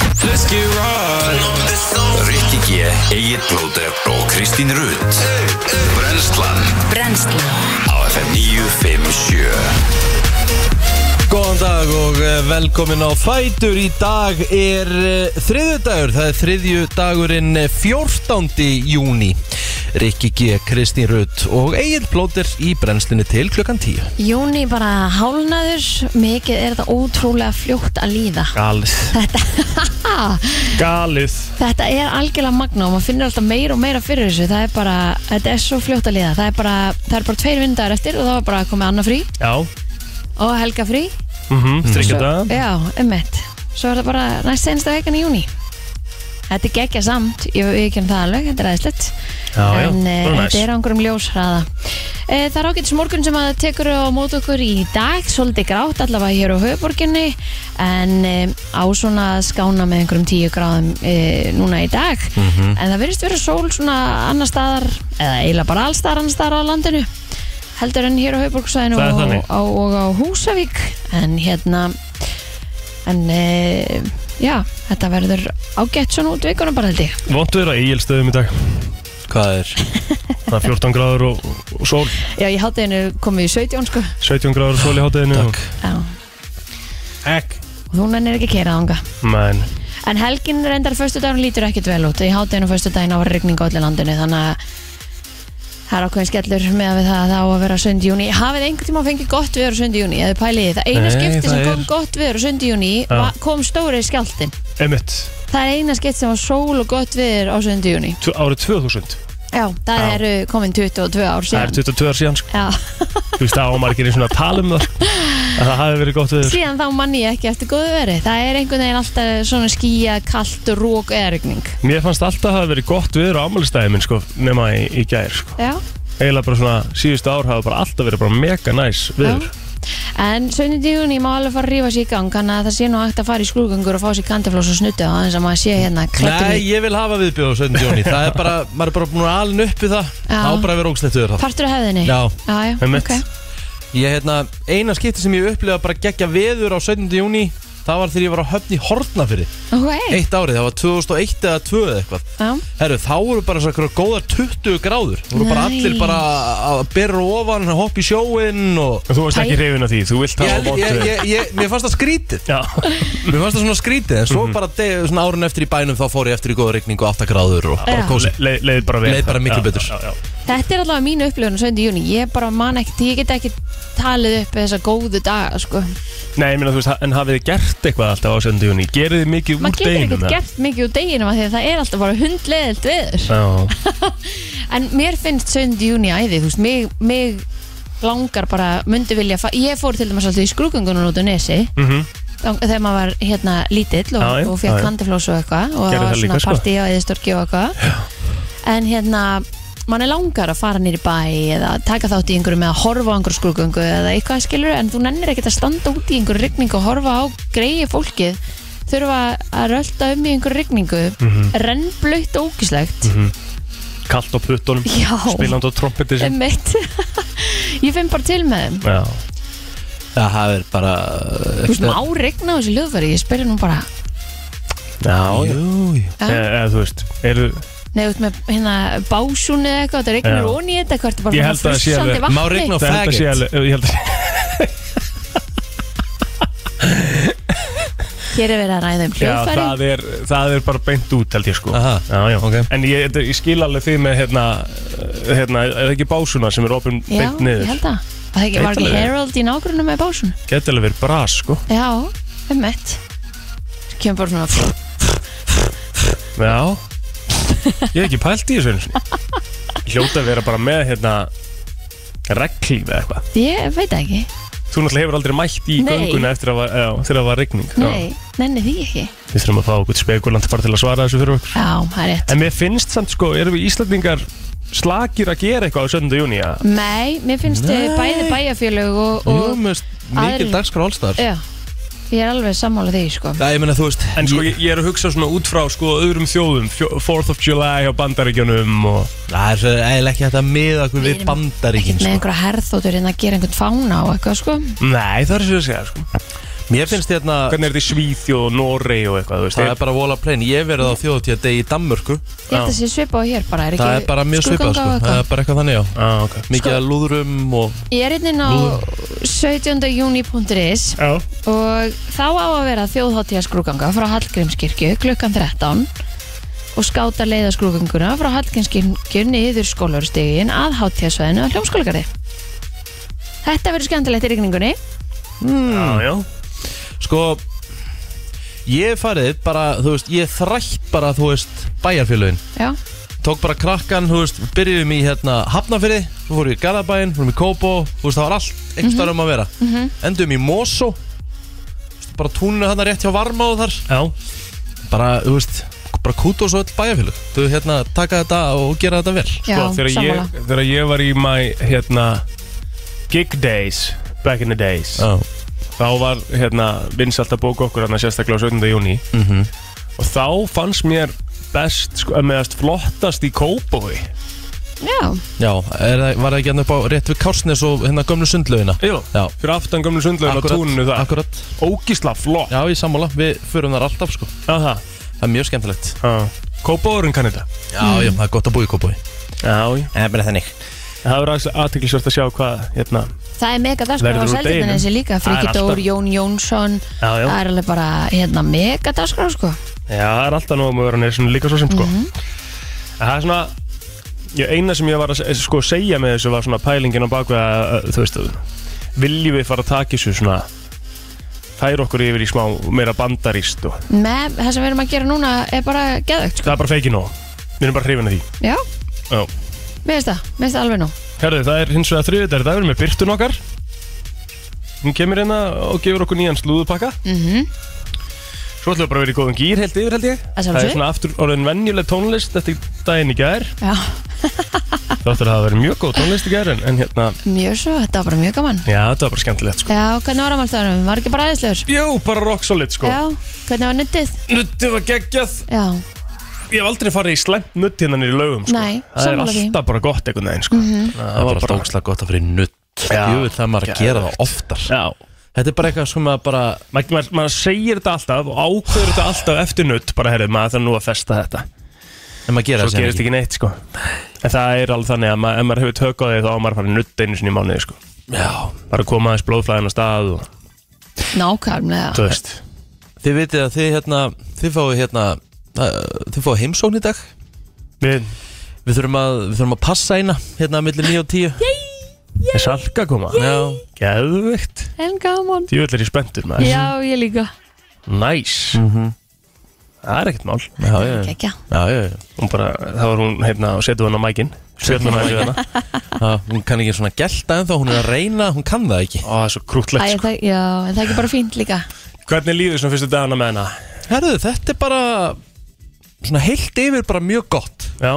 let's get right Rikki G, Egil Blóter og Kristín Rutt Brenslan Brennslan á FM 957 Góðan dag og eh, velkomin á Fætur. Í dag er eh, þriðjudagur, það er þriðju dagurinn eh, 14. júni. Rikki G, Kristín Rutt og Egil Blóter í brennslinu til klukkan 10. Jóni bara hálnaður Mikið er þetta ótrúlega fljótt að líða Galið Þetta, Galið þetta er algjörlega magna og maður finnir alltaf meira og meira fyrir þessu Það er bara, þetta er svo fljótt að líða Það er bara, það er bara tveir vindar eftir og þá er bara komið annað frí Já og helga frí mm Mhm. -hmm. Strykja Svo- það Já, ummitt Svo er það bara næst sensta vegan í júni Þetta er geggja samt, ég veit ekki um það alveg, þetta er aðeinslegt Já, já, En eh, bara næs. þetta er á einhverjum ljóshraða e, Það er ágætis morgun sem að tekur á mót okkur í dag Svolítið grátt allavega hér á höfuborginni En e, á svona að skána með einhverjum tíu gráðum e, núna í dag Mm. En það virðist vera sól svona annar staðar Eða eiginlega bara allstaðar annar staðar á landinu Heldur en hér á höfuborgsvæðinu Það er og, þannig. á- og á Húsavík En hérna En e, já, þetta verður ágætt svona út vikuna bara held ég Vondu er að eigilstöðum í dag Hvað er? Það er 14 gráður og, og sól Já, ég hátti henni komið í 17 sko 17 gráður og sól í hátæðinu Takk. Já Ek og þú nennir ekki að keira þanga Men en helgin reyndar föstudagur lítur ekkit vel út í hátteginu föstudaginn á regning á öllu landinu þannig að það er ákveðin skellur með að við það að það á að vera sundi júni hafið einhvern tíma fengið gott viður á sundi júni eða pælið þið, það eina Nei, skipti það sem er- kom gott viður á sundi júni Já. kom stóri skjáltin Emmett það er eina skipti sem var sól og gott viður á sundi júni Árið 2000 já, það Já. eru komin 22 ár Það er síðan 22 ár síðan sko. já, Þú veist það ámargir eins og að tala um það sko. Að það hafi verið gott viður síðan þá manni ég ekki eftir góðu veri það er einhvern veginn alltaf svona skýja, kalt, rók eða regning Mér fannst alltaf að hafa verið gott viður á ámælistæði minn sko, nema í, í gær sko. já, Eiginlega bara svona síðustu ár hafa bara alltaf verið bara mega næs viður En sönnið í júni má alveg fara að rífa sér í gang þannig að það sé nú hægt að fara í skrúðgangur og fá sér kandiflós og snutta og aðeins að maður sé hérna klættur Nei, í ég vil hafa viðbjóð á 17. júni. Það er bara, maður er bara búin að alin upp við það. Já. Það á bara að vera ógslættuður það. partur af hefðinni Já, já, já, Einmitt. ok ég hérna, eina skipti sem ég upplifa bara geggja veður á 17. júni, það var þegar ég var á höfn í Hortnafyrði. Ok, Eitt árið, það var 2001 eða 2 eða eitthvað. já, Herru, þá voru bara svo eitthvað góðar 20 gráður Þú voru bara Næs. allir bara að byrra ofan, að hoppa í sjóinn og... En Þú varst ekki hrifin af því, þú vilt hafa Ég, vont ég, viður ég, ég, mér fannst það skrítið Já, Mér fannst það svona skrítið En svo bara deg, svona árun eftir í bænum þá fór ég eftir í góða rigningu 8 gráður og bara Já. kósi Le- le- leið bara vel Leið bara miklu Já, betur. já, já, já. þetta er allavega mínu upplifun sönnið í júni, ég bara man ekkert ég get ekki talið upp þessa góðu daga sko. Nei, ég meina, þú veist, en hafið þið gert eitthvað alltaf á sendunni? Gerið þið mikið úr maður getur deginum? ekkert gert mikið úr deginum af því að það er alltaf bara hundleðilt viður gert en mér finnst sönnið í júni æði þú veist, mig, mig langar bara myndi vilja, fa- ég fór til dæmis alltaf í skrúðgöngunum út á nesi Mhm. Þang- þegar maður var hérna lítill og, Já, já, og já, fekk já. kandiflós og eitthvað og Gerðu það var það svona líka, sko. partí á eðistorki og eitthvað en hérna mann er langar að fara nýri bæ eða taka þátt í einhverju með að horfa á einhverju skrúgöngu eða eitthvað skilur en þú nennir ekkert að standa út í einhverju rigningu og horfa á greiði fólkið þurfa að rölda um í einhverju rigningu Mhm. rennblöytt og ógislegt Kallt á puttunum, Já. spilandi á trompeti sem... um mitt ég finn bara til með þeim Já, Já, það er bara þú veist, má rigna á þessu hljóðveri ég spyrir nú bara já, já. Jú, jú. Já. Eða, eða, Eh, þú veist, eru... Nei, út með hérna básun eða eitthvað, það regnir Já. ón í þetta, hvert er Ég bara held að það sé alveg- má regna á Ég held að sé faggot alveg- Ég held að sé... Hér er verið að ræða um Já, hljóðfæri. það er, það er bara beint út, held ég, sko. Aha, Já, já. ok. En ég, þetta- ég skil alveg því með, hérna, hérna, er það ekki básuna sem er opinn Já, beint ég niður? held að. Var Það ekki, var ekki Eitralegi. Herald í nágrunum með básun? Geti alveg verið bras, sko. Já, um mitt. Kemur bara svona Já Ég hef ekki pælt í þessu einu sinni. Ég Hljóta að vera bara með hérna reglíf eða eitthvað Ég veit það ekki. Þú náttúrulega hefur aldrei mætt í Nei. gönguna eftir að, var- já, þegar það var rigning Nei, nenni því ekki. Já. Við þurfum að fá okkur spekulant bara til að svara þessu fyrir okkur Já, það er rétt. En mér finnst samt sko, erum við Íslandingar slakir að gera eitthvað á 17. júni að Nei, mér finnst Nei. Nei. bæði bæjarfélög og, Jú, og mér finnst mikil aðrir- Eh. dagskrá allstar já, ég er alveg sammála því, sko. Já, ég meina, þú veist En sko, ég, ég er að hugsa svona út frá sko öðrum þjóðum fjó- 4th of July á bandaríkjunum og Það er svo eiginlega ekki hægt að miða okkur við erum bandaríkin Með sko. einhverja herðóttur hérna að gera einhvern fána og eitthvað, sko. Nei, það er svo að segja sko Mér finnst hérna Hvernig er þetta í Svíþjóð og Noregi og eitthvað, þú veist Það er bara vola plain, ég hef verið á þjóðatíða degi í Danmörku Ég held að sé svipað á hér bara er ekki Það er bara mjög svipað skrúðganga sko, og það eitthvað? er bara eitthvað þannig já ah, okay. Mikið að lúðrum og Ég er einnig á 17.júni.is Já, og þá á að vera þjóðháttíða skrúganga frá Hallgrímskirkju klukkan 13 og skáta leiða skrúganguna frá Hallgrímskirkju niður skólarstegin að háttíðasvæðinu á hljómskólagarði Þetta verður skemmtilegt í rigningunni já, Ah, já sko Ég hef farið bara, þú veist, ég þrætt bara, þú veist, bæjarfélögin Já, Tók bara krakkan, þú veist, byrjuðum í hérna Hafnafyrði, svo fórum við í Garðabæin, fórum í Kóbo, þú veist, það var allt einhvers staðar um að vera. Endum í Mosó, þú veist, bara túninu hérna rétt hjá varma og þar. Já, Bara, þú veist, bara kút og svo öll bæjarfélug. Þú hérna, taka þetta og gera þetta vel. já, sko, þegar sammála ég, þegar ég var í my, hérna, gig days, back in the days Já. Þá var, hérna, vinsalt að bóka okkur hann sérstaklega á 17. júni Mhm. Og þá fannst mér best, sko, meðast flottast í Kópói Já, Já, er, það- var það ekki hérna upp á rétt við Kársnes og hérna gömlu sundlaugina? Jú, Já. fyrir aftan gömlu sundlaugin og túninu það Akkurat. Ógísla flott Já, í sammála, við förum þar alltaf, sko. Já, það Það er mjög skemmtilegt. Já. Kópavörun kann þetta Já, já, það er gott að búi í Kópói. Já, já. Mm. Það er bara þannig. það verður aðtiklisvert að sjá hvað hérna. það er mega dagskrá á Verður úr Seldjarnanesi deginum. líka Það er Friki Dór, alltaf- Jón Jónsson Já, já. Það er alveg bara hérna, mega dagskrá sko. Já, það er alltaf nóg mögur hann er svona líka svo sem sko Mhm. En Það er svona ég, eina sem ég var að se- sko, segja með þessu var svona pælingin á bakveg að að, þú veist, viljum við fara að taka þessu svona færa okkur yfir í smá meira bandaríst og Með, Það sem við erum að gera núna er bara geðögt sko. það er bara feikið nóg Við erum bara hrifin af því Já, Já. mér finnst það, mér finnst það alveg nú Herðu, það er hins vegar þriðið, það er dagur með byrtun okkar Hún kemur hérna og gefur okkur nýjan slúðupakka mm Svo ætlum við bara að vera í góðum gýr held yfir held ég Að Það er sjálfsögðu. svona aftur orðin venjuleg tónlist eftir daginn í gær Já, Þáttur að það hafa verið mjög góð tónlist í gær en, en hérna, mjög svo, þetta var bara mjög gaman já þetta var bara skemmtilegt sko Já, hvernig var ámálstæðanum? Var ekki bara aðeinslegur? Jú, bara rock solid sko Já, hvernig var nuttið? Nuttið var geggjað Já, Ég hef aldrei farið í slemt nutt hérna niður í lögum sko Nei, Það er sammála því. Mhm. alltaf bara gott einhvern veginn sko Það var bara ógslag gott að fyrir nutt Já. Jú, það er maður að gera það oftar Já Þetta er bara eitthvað sem að bara Maður ma ma maður segir þetta alltaf og ákveður þetta alltaf eftir nutt bara herrið, maður þarf nú að festa þetta En maður gera Svo það gerist ekki neitt sko En það er alveg þannig að ma ef maður hefur tök á því þá á maður að fara nutt einu sinni í mánuði sko Já Bara koma aðeins blóðflæðin á stað og nákvæmlega þú veist Þið vitið að þið hérna Þið fáið hérna uh, Þið fáið heimsókn í dag Við Við þurfum að, við þurfum að passa eina Hérna að milli 9 og 10 er salka að koma Já Geðvikt En gaman Djúvill er ég spenntur maður Já, ég líka Næs Það er ekkert mál Já, já, Eh, já, Kekja, já, já. Hún bara, þá var hún hérna og setið hann á mækin Setið hann á mækin Já, Hún kann ekki svona gelta en þá Hún er að reyna, hún kann það ekki Ó, það er svo krútlegt Æ, sko. það, já, en það er ekki bara fínt líka Hvernig líður svona fyrstu dagana með hana? Herðu, þetta er bara Svona heilt yfir bara mjög gott Já,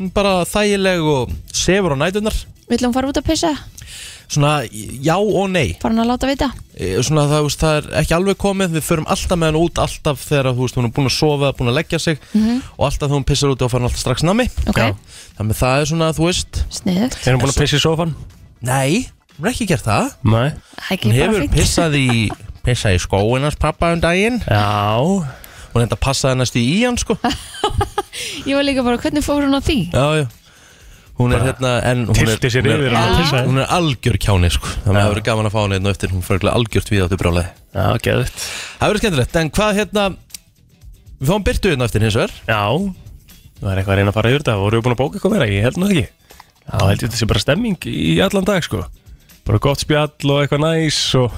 Hún bara þægileg og sefur á nætunar Vill hún fara út að pissa? Svona já og nei Fara hann að láta vita? Eh, svona það, þú veist, það er ekki alveg komið við förum alltaf með hann út alltaf þegar þú veist, hún er búin að sofa, búin að leggja sig og alltaf þegar hún pissar út og farin alltaf strax nami Mhm. Ok. Já. þannig að það er svona, þú veist Sniðugt er hún búin að pissa í sófan? nei, hún er ekki gert það Nei Það er ekki bara hún hefur fínt pissað í pissað í skóinars pappa um daginn Já hún enda passaði næstu í hann sko Ég var líka bara, hvernig fór hún á því? já, já hún er hérna, en hún er, Tilti sér hún yfir er, hann að pissa hún er algjör kjáni sko þannig að Já. það verður gaman að fá hann einn og eftir hún fyrir algjört við áttu brjálæði Já, geðvikt það verður skemmtilegt, en hvað hérna við fáum byrtu hérna eftir hins vegar Já Það er eitthvað að reyna að fara yfir þetta Voru við búin að bóka eitthvað vera? Ég held nú ekki Já, held ég þetta sé bara stemming í allan dag sko Bara gott spjall og eitthvað næs og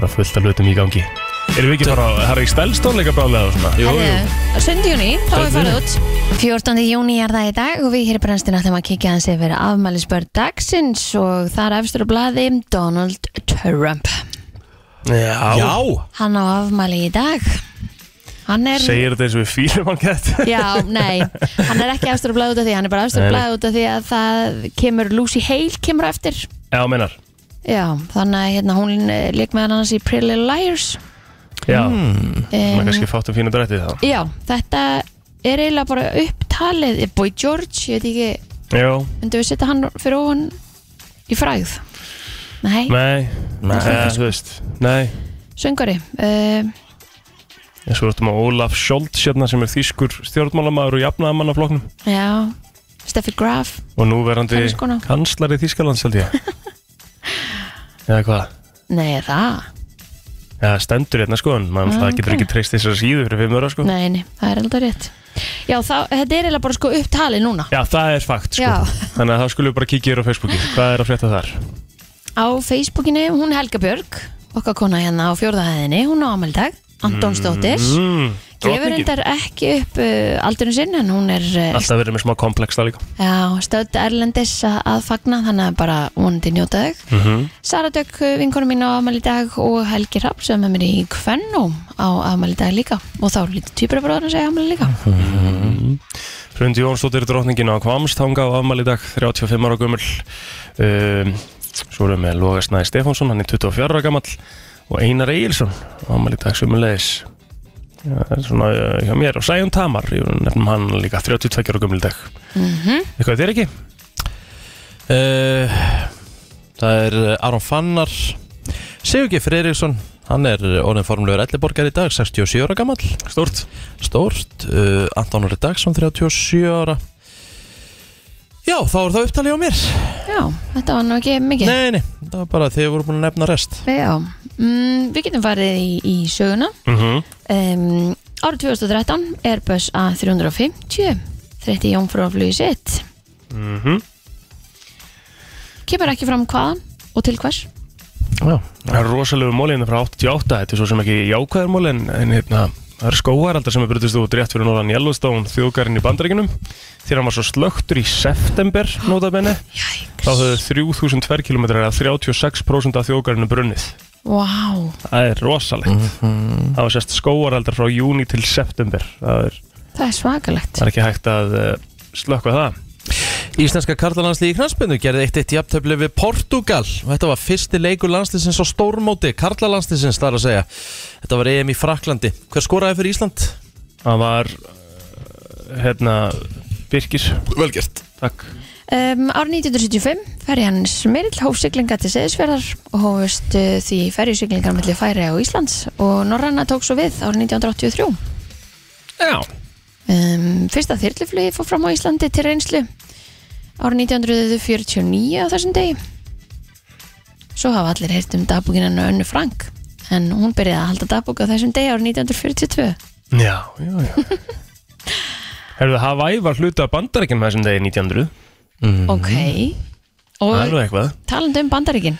bara fullt af hlutum í gangi Erum við ekki bara að herra í stælstónleika brálega og svona? jú, jú. Herðu, 7. júni, þá er Sjöundi farið út 14. júni er það í dag og við hér í brennstina ætlum að kíkja hans yfir afmælisbörn dagsins og það er efstur á blaði Donald Trump Já, já, Hann á afmæli í dag Hann er, Segir þetta eins og við fýlum hann gett já, nei Hann er ekki efstur á blaði út af því, hann er bara efstur á Nei, nei. blaði út af því að það kemur Lucy Hale kemur á eftir Já, meinar Já, þannig að hérna, hún eh, lék með hann hans í Pretty Little Liars Já, mm, Hmm. um, kannski fátt um fínu drætti þá Já, þetta er eiginlega bara upptalið Eh, Boy George, ég veit ekki Já, Myndum við setja hann fyrir ofan í fræð? Nei, Nei, Nei. Eh, þú veist Nei, söngari uh, en svo ertum að Ólaf Scholz hérna sem er þýskur stjórnmálamaður og jafnaðamann af flokknum Já, Steffi Graf og nú verandi Hann er skona. kanslari Þýskalands held ég eða hvað Nei, það Já, stendur hérna sko, en maður Ah, okay. getur ok. ekki treyst þessar síðu fyrir fimm öra sko Nei, nei, það er aldrei rétt Já, þá, þetta er eiginlega bara sko upptali núna Já, það er fakt sko Já. Þannig að þá skulum við bara kíkja hér á Facebooki Hvað er að frétta þar? Á Facebookinu, hún Helga Björg okkar kona hérna á fjórðahæðinni hún á ámeldag, Antonsdóttir mm, Mm, gefur endar ekki upp uh, aldurinn sinn en hún er uh, Alltaf verið með smá komplex það líka já, stödd erlendis að, að fagna þannig að bara vonandi njóta þau mm -hmm. Sara Dögg, vinkonu mín á afmæli í dag og Helgi Rapp sem er með mér í Kvennum á afmæli í dag líka og þá lítið týpurabróður að segja afmæli líka Hrundi Mhm. Jónsdóttir drotningin á Kvamstanga á afmæli í dag 35 ára gömul um, Svo erum við Loga Snæði Stefánsson Hann er 24 ára gamall Og Einar Egilson á afmæli í dag sumulegis Já, það er svona uh, hjá mér og Sæjón Tamar, ég vil nefnum hann líka 32 ára gömul í dag Eitthvað þér ekki? Uh, það er uh, Aron Fannar Sigur G. Freiriksson Hann er uh, orðin formlegur elliborgar í dag 67 ára gamall Stórt Stórt uh, Anton Orri Dagsson 37 ára Já, þá er það upptalið á mér Já, þetta var nú ekki mikið Nei, nei, það var bara þegar voru búin að nefna rest Já, mm, við getum farið í, í söguna mm um, Árið 2013 Airbus A350 30 jónfrúaflugi sitt Mhm. Kemur ekki fram hvaðan og til hvers Já, Það er rosalegu mólinn frá 88, þetta er svo sem ekki jákvæður mólinn, en hérna, það eru skóaraldar sem er brutist út rétt fyrir norðan Yellowstone þjóðgarinn í bandaríkinum. Þegar hann var svo slögtur í september, notabene, Jæks þá höfðu 3000 tverrkilometrar eða 36% af þjóðgarinu brunnið. Vá, Það er rosalegt. Það var sérst skóaraldar frá júni til september. Það er, það er svakalegt það er ekki hægt að uh, slökka það. Íslenska karlalandsliði í knarspinnu gerði eitt eitt jafntöfli við Portugal og þetta var fyrsti leikur landsliðsins á stórmóti karlalandsliðsins þar að segja Þetta var EM í Fraklandi Hver skoraði fyrir Ísland? Það var, uh, hérna, Birkir. Velgjert Takk. um, Árið 1975 ferjan Smyrill hóf siglinga til Seðisfjörðar og hófust uh, því ferjusiglingar mellir færi á Íslands og Norranna tók svo við árið 1983 Já. um, Fyrsta þyrluflugi fór fram á Íslandi til reynslu árið 1949 á þessum degi Svo hafa allir heyrt um dagbúkinan og Önnu Frank en hún byrjaði að halda dagbúk á þessum degi árið 1942 Já, já, já Herðu, Hawaii var hluti af bandarækjum þessum degi 1900 Ok Og Mhm. Það er nú eitthvað Talandi um bandaríkin,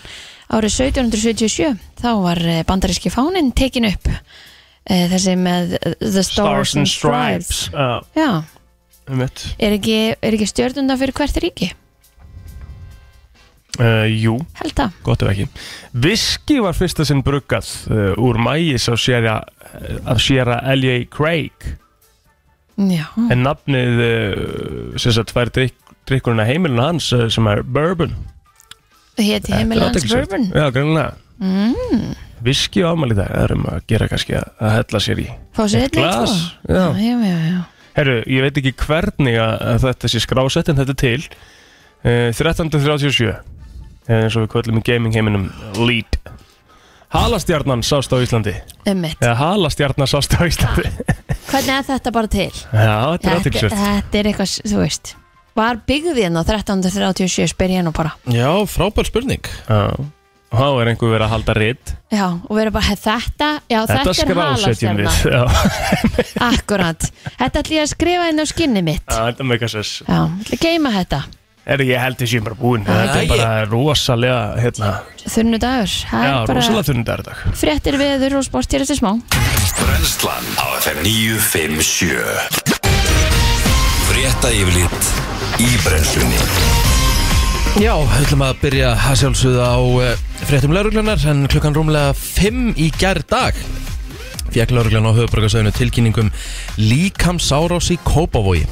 árið 1777 þá var eh, bandaríski fáninn tekin upp eh, þessi með eh, The Stars, and Stripes. Já, Já, um mitt er ekki, er ekki stjörnunda fyrir hvert ríki? uh, Jú, Held það. gott ef ekki Viski var fyrsta sinn bruggað uh, úr mægis af séra, eh, af séra L.A. Craig Já, en nafnið uh, sem sagt tvær drykk, drykkurinn að heimilinu hans uh, sem er Bourbon héti Mm. Þetta er heimilans athyglisvert. bourbon. Já, greinlega Viski og afmæli í dag, það er um að gera kannski að, að hella sér í Fá sér sko. Eitt einnig tvo. glas, Já, já. já, já, já. Herru, ég veit ekki hvernig að, að þetta sé skrásett en þetta er til uh, 1337 eða Eh, eins og við kvöllum í gaming heiminum Lead Halastjarnan sást á Íslandi Ummitt. eða Halastjarnan sást á Íslandi Hvernig er þetta bara til? Já, þetta er aðtilsvöld þetta er eitthvað, s- þú veist. Var byggðið hérna á 1337 spyr ég nú bara. Já, frábær spurning og þá er einhver verið að halda ritt Já, og verið bara, "He, þetta, já, þetta, Þetta er skrásetjum halastjarnan. við Já, Akkurat, þetta ætlum ég að skrifa inn á skinni mitt Já, þetta meika sess Já, ætlum að geima þetta Herru, ég held þessi bara búin Þetta Æi. er bara rosalega hérna, Þunnu dagur, það Já, er bara rosalega þunndar dag fréttir veður og sport hér eftir smá Brennslan á FM 957 Frétta yfirlit í brennslunni Já, við ætlum að byrja að sjálfsögða á eh, fréttum lauruglunar en klukkan rúmlega 5 í gær dag fekk lauruglan á höfuborgarsöðinu tilkynningum líkamsárás í Kópavogi.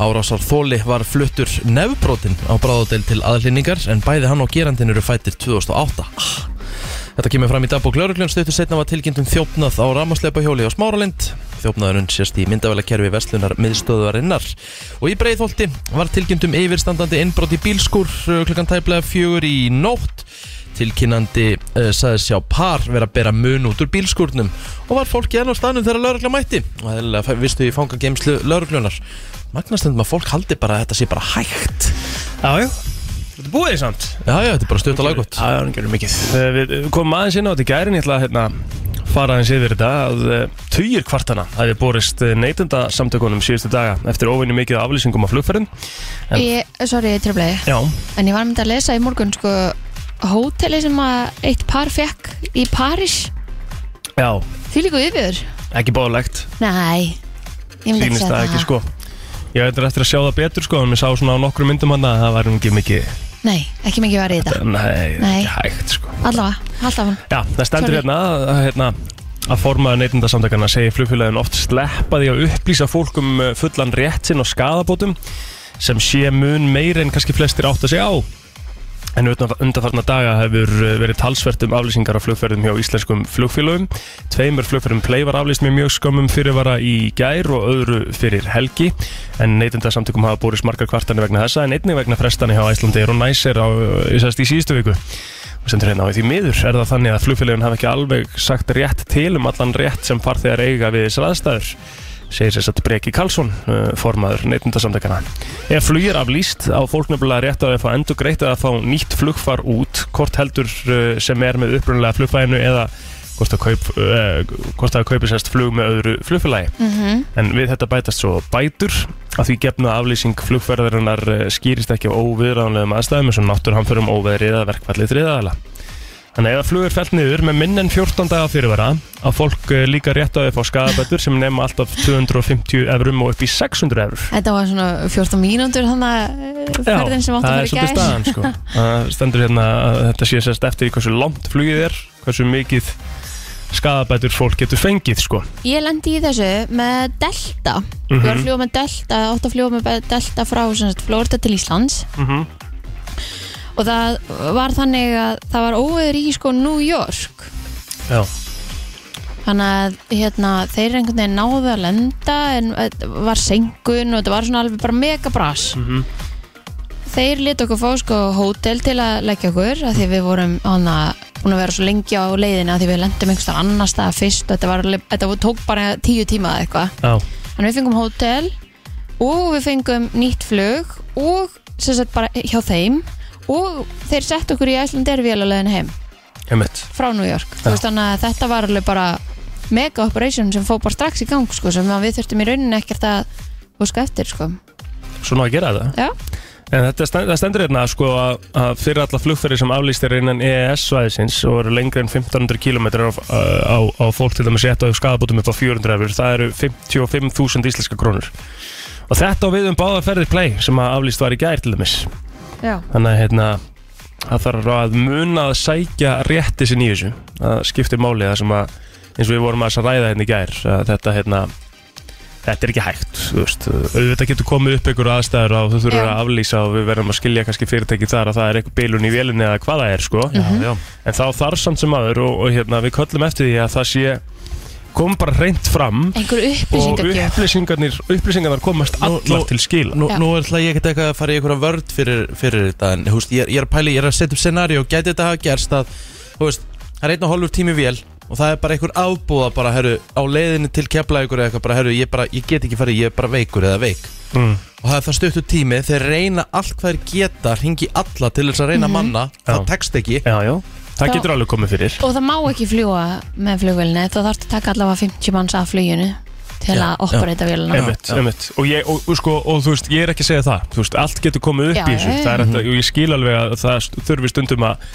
Árásar þóli var fluttur nefbrotinn á bráðadel til aðlýningar en bæði hann og gerandin eru fættir 2008. Ah. Þetta kemur fram í dagbók lauruglun stöttu setna var tilkynnt um þjófnað á ramasleipa hjóli á Smáralind. Þjófnaðurinn sést í myndavælakerfi verslunar miðstöðuarinnar. Og í breiðholti var tilkynnt um yfirstandandi innbrot í bílskur uh, klukkan tæplega fjögur í nótt Tilkinnandi uh, sagði sjá par vera að bera mun út úr bílskúrnum og var fólki enn á staðnum þegar laurugla mætti og þeirlega vistu í fangageimslu lauruglunar. Magnastendum að fólk haldi bara að þetta sé bara hægt. Já, já Þetta er búið því samt Já, já, þetta er bara stutt að laggótt. Já, hann gerir mikið Eh, Við eh, komum aðeins inn á þetta í gærin Ég ætla að hérna, fara aðeins yfir þetta að eh, tugir kvartana hafi borist neytunda samtökunum síðustu daga eftir óvinni mikið af aflýsingum á flugferðum En- Ég, sorry, ég treflaði Já, En ég var með að lesa í morgun sko hóteli sem að eitt par fekk í París já, Því líku yfir ekki bóðlegt Nei, ég myndi Sýnist segja það ekki sko Ég veitur eftir að sjá það betur sko en ég sá svona á nokkrum myndum hann að það var ekki mikið Nei, ekki mikið var í þetta Nei, Nei. ekki hægt sko Allavega, alltaf hann Já, það stendur Sorry. hérna að, að, hérna að formaður neytindasamtakana segir flugfélagin oft sleppa því að upplýsa fólk um eh, fullan rétt sinn og skadabótum sem sé mun meir en kannski flestir átt að segja á En utan- undanfarna daga hefur eh, verið talsvert um aflýsingar á flugferðum hjá íslenskum flugfélögum. Tveimur flugferðum play var aflýst með mjög skömmum fyrirvara í gær og öðru fyrir helgi. En neytinda samtökum hafa búið smarkar kvartanir vegna þessa en einnig vegna frestani hjá Æslandeir og Næsir á, sest, í síðustu viku. Og sendur hérna á því miður er það þannig að flugfélögum hafa ekki alveg sagt rétt til um allan rétt sem farþegar eiga við þessar aðstæður segir sér satt Breki Karlsson, uh, formaður neytundasamtakana. Ef flugir aflýst á fólk nefnilega rétt á að fá endur greitt að fá nýtt flugfar út, hvort heldur uh, sem er með upprunalega flugfæðinu eða hvort að, kaup, uh, hvort að kaupi sérst flug með öðru flugfélagi. Mhm. En við þetta bætast svo bætur að því gefna aflýsing flugferðarinnar eh, skýrist ekki á óviðræðanlegum aðstæðum eins og náttúrhamförum óveðrið eða verkfallið þriðaðala. Þannig að ef að flug er fælt niður með minn en 14 daga fyrirvara að fólk eh, líka rétt á því að fá skadabætur sem nema alltaf 250 evrum og upp í 600 evrum. Þetta var svona 14 mínútur þannig að ferðin sem átti það er að svolítið fara í staðan sko. Það stendur hérna að þetta sé sérst eftir í hversu langt flugið er, hversu mikið skadabætur fólk getur fengið sko. gær Ég lendi í þessu með Delta Mhm. Ég var að fljúa með Delta, átti að fljúa með Delta frá sem sagt, Florida til Íslands Mhm. og það var þannig að það var óveður í sko New York Já. Þannig að hérna, þeir einhvern veginn náðu að lenda en eh, var senkun og þetta var svona alveg bara mega bras. Mhm. Þeir leta okkur fá sko hótel til að leggja okkur að því við vorum hana, búin að vera svo lengi á leiðinu að því við lendum einhvers staðar annars staðar fyrst og þetta, var, alveg- þetta tók bara tíu tíma eða eitthvað. Já. Þannig við fengum hótel og við fengum nýtt flug og sem sagt bara hjá þeim og þeir sett okkur í Æslandir vélalegin heim Einmitt. frá New York Þú veist þannig að þetta var alveg bara mega operation sem fóð bara strax í gang sko, sem að við þurftum í rauninni ekkert að húska eftir sko. Svona að gera þetta. Já, En þetta stend, það stendur hérna sko að, að fyrir alla flugferði sem aflýst er innan EES-svæðisins og eru lengri en 1500 km á, uh, á, á fólk til dæmis rétt á skadabótum upp á 400 efur, það eru 55.000 íslenska krónur. Og þetta á við um báða ferðir play sem að aflýst var í gær til dæmis. já, Þannig að hérna, það þarf að muna að sækja rétti sinni í þessu. Það skiptir máli það sem að, eins og við vorum aðeins að ræða hérna í gær, að þetta hérna, þetta er ekki hægt þú veist, auðvitað getur komið upp einhver aðstæður og þú þurfur Já. að aflýsa og við verðum að skilja kannski fyrirtæki þar að það er einhver bilun í vélinni eða hvað það er sko Já, já. en þá þarf samt sem aður og, og hérna, við köllum eftir því að það sé kom bara reynt fram einhver og upplýsingagjöf upplýsingarnir, upplýsingarnar komast Nú- allar nú- til skila Nú, Já. nú ætla ég ekkert eitthvað að fara í einhverja vörd fyrir, fyrir þetta en húst, ég, er- ég er að pæla, ég er að setja upp scenari og gæti þetta hafa gerst að húst, það er einn og hálfur tími vél og það er bara einhver afbúða bara, herru, á leiðinni til kepla ykkur eða eitthvað, bara, herru, ég, bara, ég get ekki farið, ég er bara veikur eða veik mm. og það er það stuttur tími, þeir reyna allt hvað þeir geta, hringi alla til þess að reyna manna, það Já. tekst ekki já, já. það Já. getur alveg komið fyrir Og það má ekki fljúa með flugvélni þá þarf að taka allavega 50 manns af fluginu til Já, að operita vélina Einmitt, Já. einmitt. Og, ég, og, og, sko, og þú veist, ég er ekki að segja það Þú veist, Allt getur komið upp Já, í þessu já, Það er þetta, og Ég skil alveg að það st- þurfi stundum að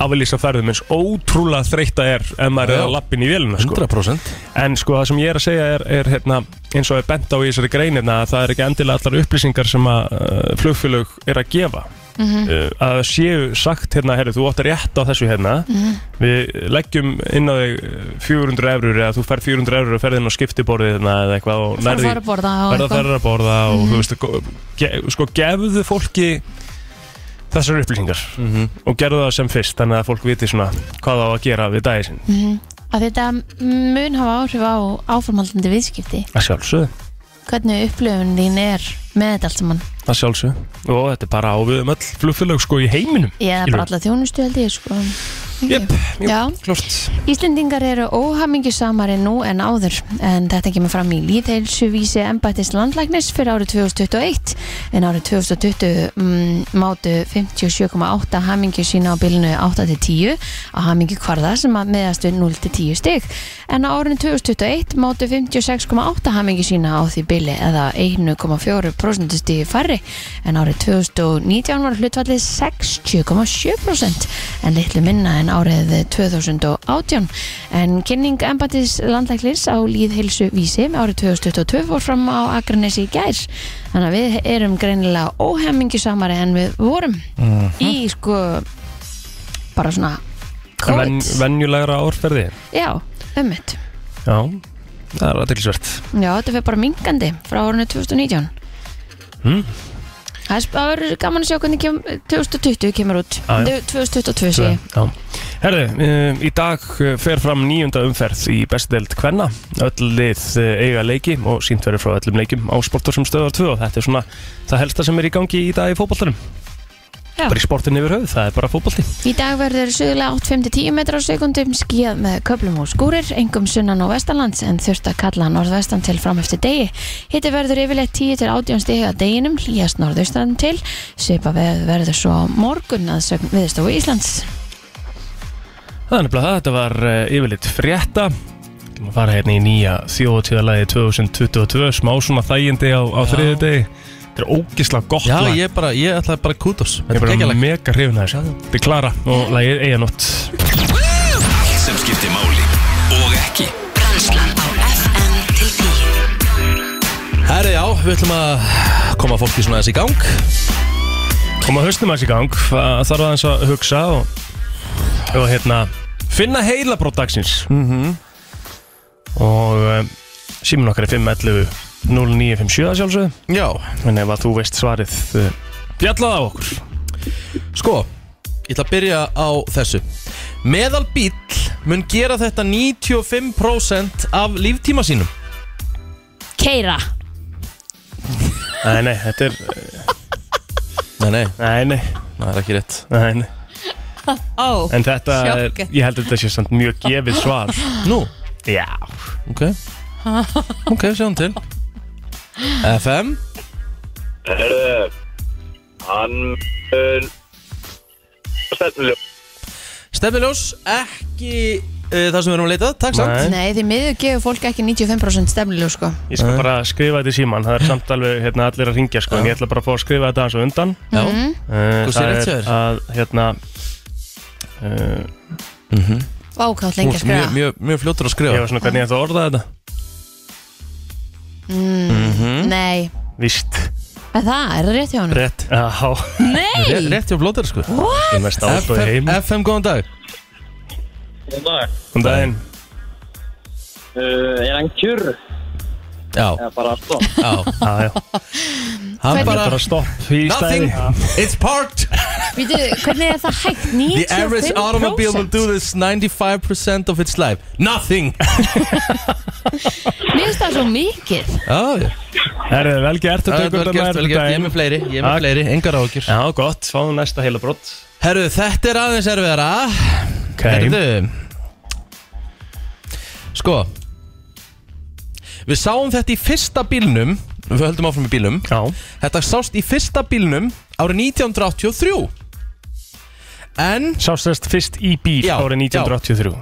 aflýsa ferðum eins ótrúlega þreytta er ef maður Já, er já. að lappin í vélina sko. 100% En sko, það sem ég er að segja er, er hérna, eins og er bent á í þessari greinina að það er ekki endilega allar upplýsingar sem að uh, flugfélög er að gefa Mhm. uh, að séu sagt hérna, herri, þú átt rétt á þessu hérna Mhm. við leggjum inn á þig uh, 400 eurur eða þú fær 400 eurur og ferðin á skiptiborðið hérna, eða eitthvað og Fara að nærði fara að borða og verða eitthvað þær að borða og þú veist, go- ge, sko gefðu fólki þessar upplýsingar og gerðu það sem fyrst þannig að fólk viti svona hvað það á að gera við dagið sinn Mhm. Að Þetta mun hafa áhrif á áformaldandi viðskipti að sjálfsögðu Hvernig upplifun þín er með þetta allt saman að sjálfsög og þetta er bara á við um öll flugfélög sko í heiminum Ég er bara alla þjónustu held ég sko Jep, jú, Já. klart Íslendingar eru óhamingjusamari nú en áður en þetta kemur fram í líðheilsuvísi embættis landlæknis fyrir árið 2021 en árið 2020 mm, mátu 57,8 hamingju sína á bilinu 8-10 á hamingju kvarða sem að meðast við 0-10 stig en á árinu 2021 mátu 56,8 hamingju sína á því bili eða 1,4% stigi færri en árið 2019 var hlutvallið 60,7% en litlu minna en árið 2018 en kynning embatis landlæklis á líðheilsu vísi árið 2022 fór fram á Akranesi í gær þannig að við erum greinilega óhemmingisamari en við vorum í sko bara svona En COVID ven, venjulegra árferði já, ummitt Já, það er aðeinsvert já, þetta fyrir bara mingandi frá árinu 2019 Mm. það er sp- það verður gaman að sjá hvernig kem, 2020 kemur út Já, já. Þau- 2022 sé ég Herðu, um, í dag uh, fer fram nýjunda umferð í bestdelt Kvenna Öll lið uh, eiga leiki og sínt verður frá öllum leikum á sportur sem stöðar 2 og þetta er svona það helsta sem er í gangi í dag í fótboltanum Já. Bara í sportin yfir höfuð, það er bara fótbolti Í dag verður suðulega 8-5-10 metrar á sekundum skíðað með köplum og skúrir, engum sunnan og vestanlands en þurft að kalla norðvestan til fram eftir degi. Hitti verður yfirleitt 10-18 stegi að deginum, hlýjast norðaustan til, seipa verður svo á morgun að sögn viðstofu Íslands. Það er nefnilega það, þetta var uh, yfirleitt frétta Við að fara hérna í nýja þjóðtíðalagi 2022 smá svona þægindi á, á þriði degi Þetta er ógislega gott Já, lag ég bara, ég ætlaði bara kudos Sko. Ég Þetta er er bara geggjalag mega hrifin að þessu Þetta er Klara og lagið Eiganótt Allt sem skiptir máli og ekki Brennslan á FM til 10 Herri, já, við ætlum að koma fólki svona aðeins í gang Koma höstum aðeins í gang það þarf aðeins að hugsa og, og hérna finna heila dagsins -hmm. og um, símin okkar er 511 0957 að sjálfsögðu Já en ef að þú veist svarið uh, bjallaði á okkur Sko, ég ætla að byrja á þessu Meðal bíll mun gera þetta 95% af líftíma sínum Keira! Nei, nei, þetta er Nei, nei, Nei, nei, það er ekki rétt nei, nei. Ó! En þetta, er, Sjokk. ég held að þetta sé samt mjög gefið svar Nú, Já ok Ok, sjáum til FM Herðu, hann mun stefnuljó. Stefniljós, ekki uh, það sem við erum að leitað, takk samt Nei. Nei, því miður gefur fólk ekki 95% stemnilu, sko. Ég skal bara skrifa þetta í síman Það er samt alveg hérna, allir að ringja sko, En ég ætla bara að fá að skrifa þetta aðeins á undan Já, uh, Þú sér Það rétt hjá er þér. að hérna, uh, Vákátt lengi að Þú ert mjög, skrifa. mjög, mjög fljótur að skrifa Ég var svona hvernig ég ætla að orða þetta Nei, Víst, en það er það rétt hjá hann. rétt Já, Ré, Nei! Rétt hjá blótur, sko ég er mest átt og í FM, heim FM, góðan dag Um daginn Uh, er hann kjurr? Já, Eða bara alltaf? já Já, já. Hann Bara, bara stopp í Nothing, stæði it's parked Vítu, hvernig er það hægt? 95%? The average automobile will do this 95% of its life Nothing Oh, Mér finnst það svo mikið. Já, já. Það er vel gert Það að er vel tökum gert, vel gert Ég er með fleiri, ég er með Takk. fleiri, engar ágjur Já, gott, fáum næsta heila brott Herru, þetta er aðeins erfiðara okay. Herru Sko Við sáum þetta í fyrsta bílnum Við höldum áfram í bílnum Já, Þetta sást í fyrsta bílnum árið 1983 En sást þess fyrst í bíl Já, árið 1983 uh,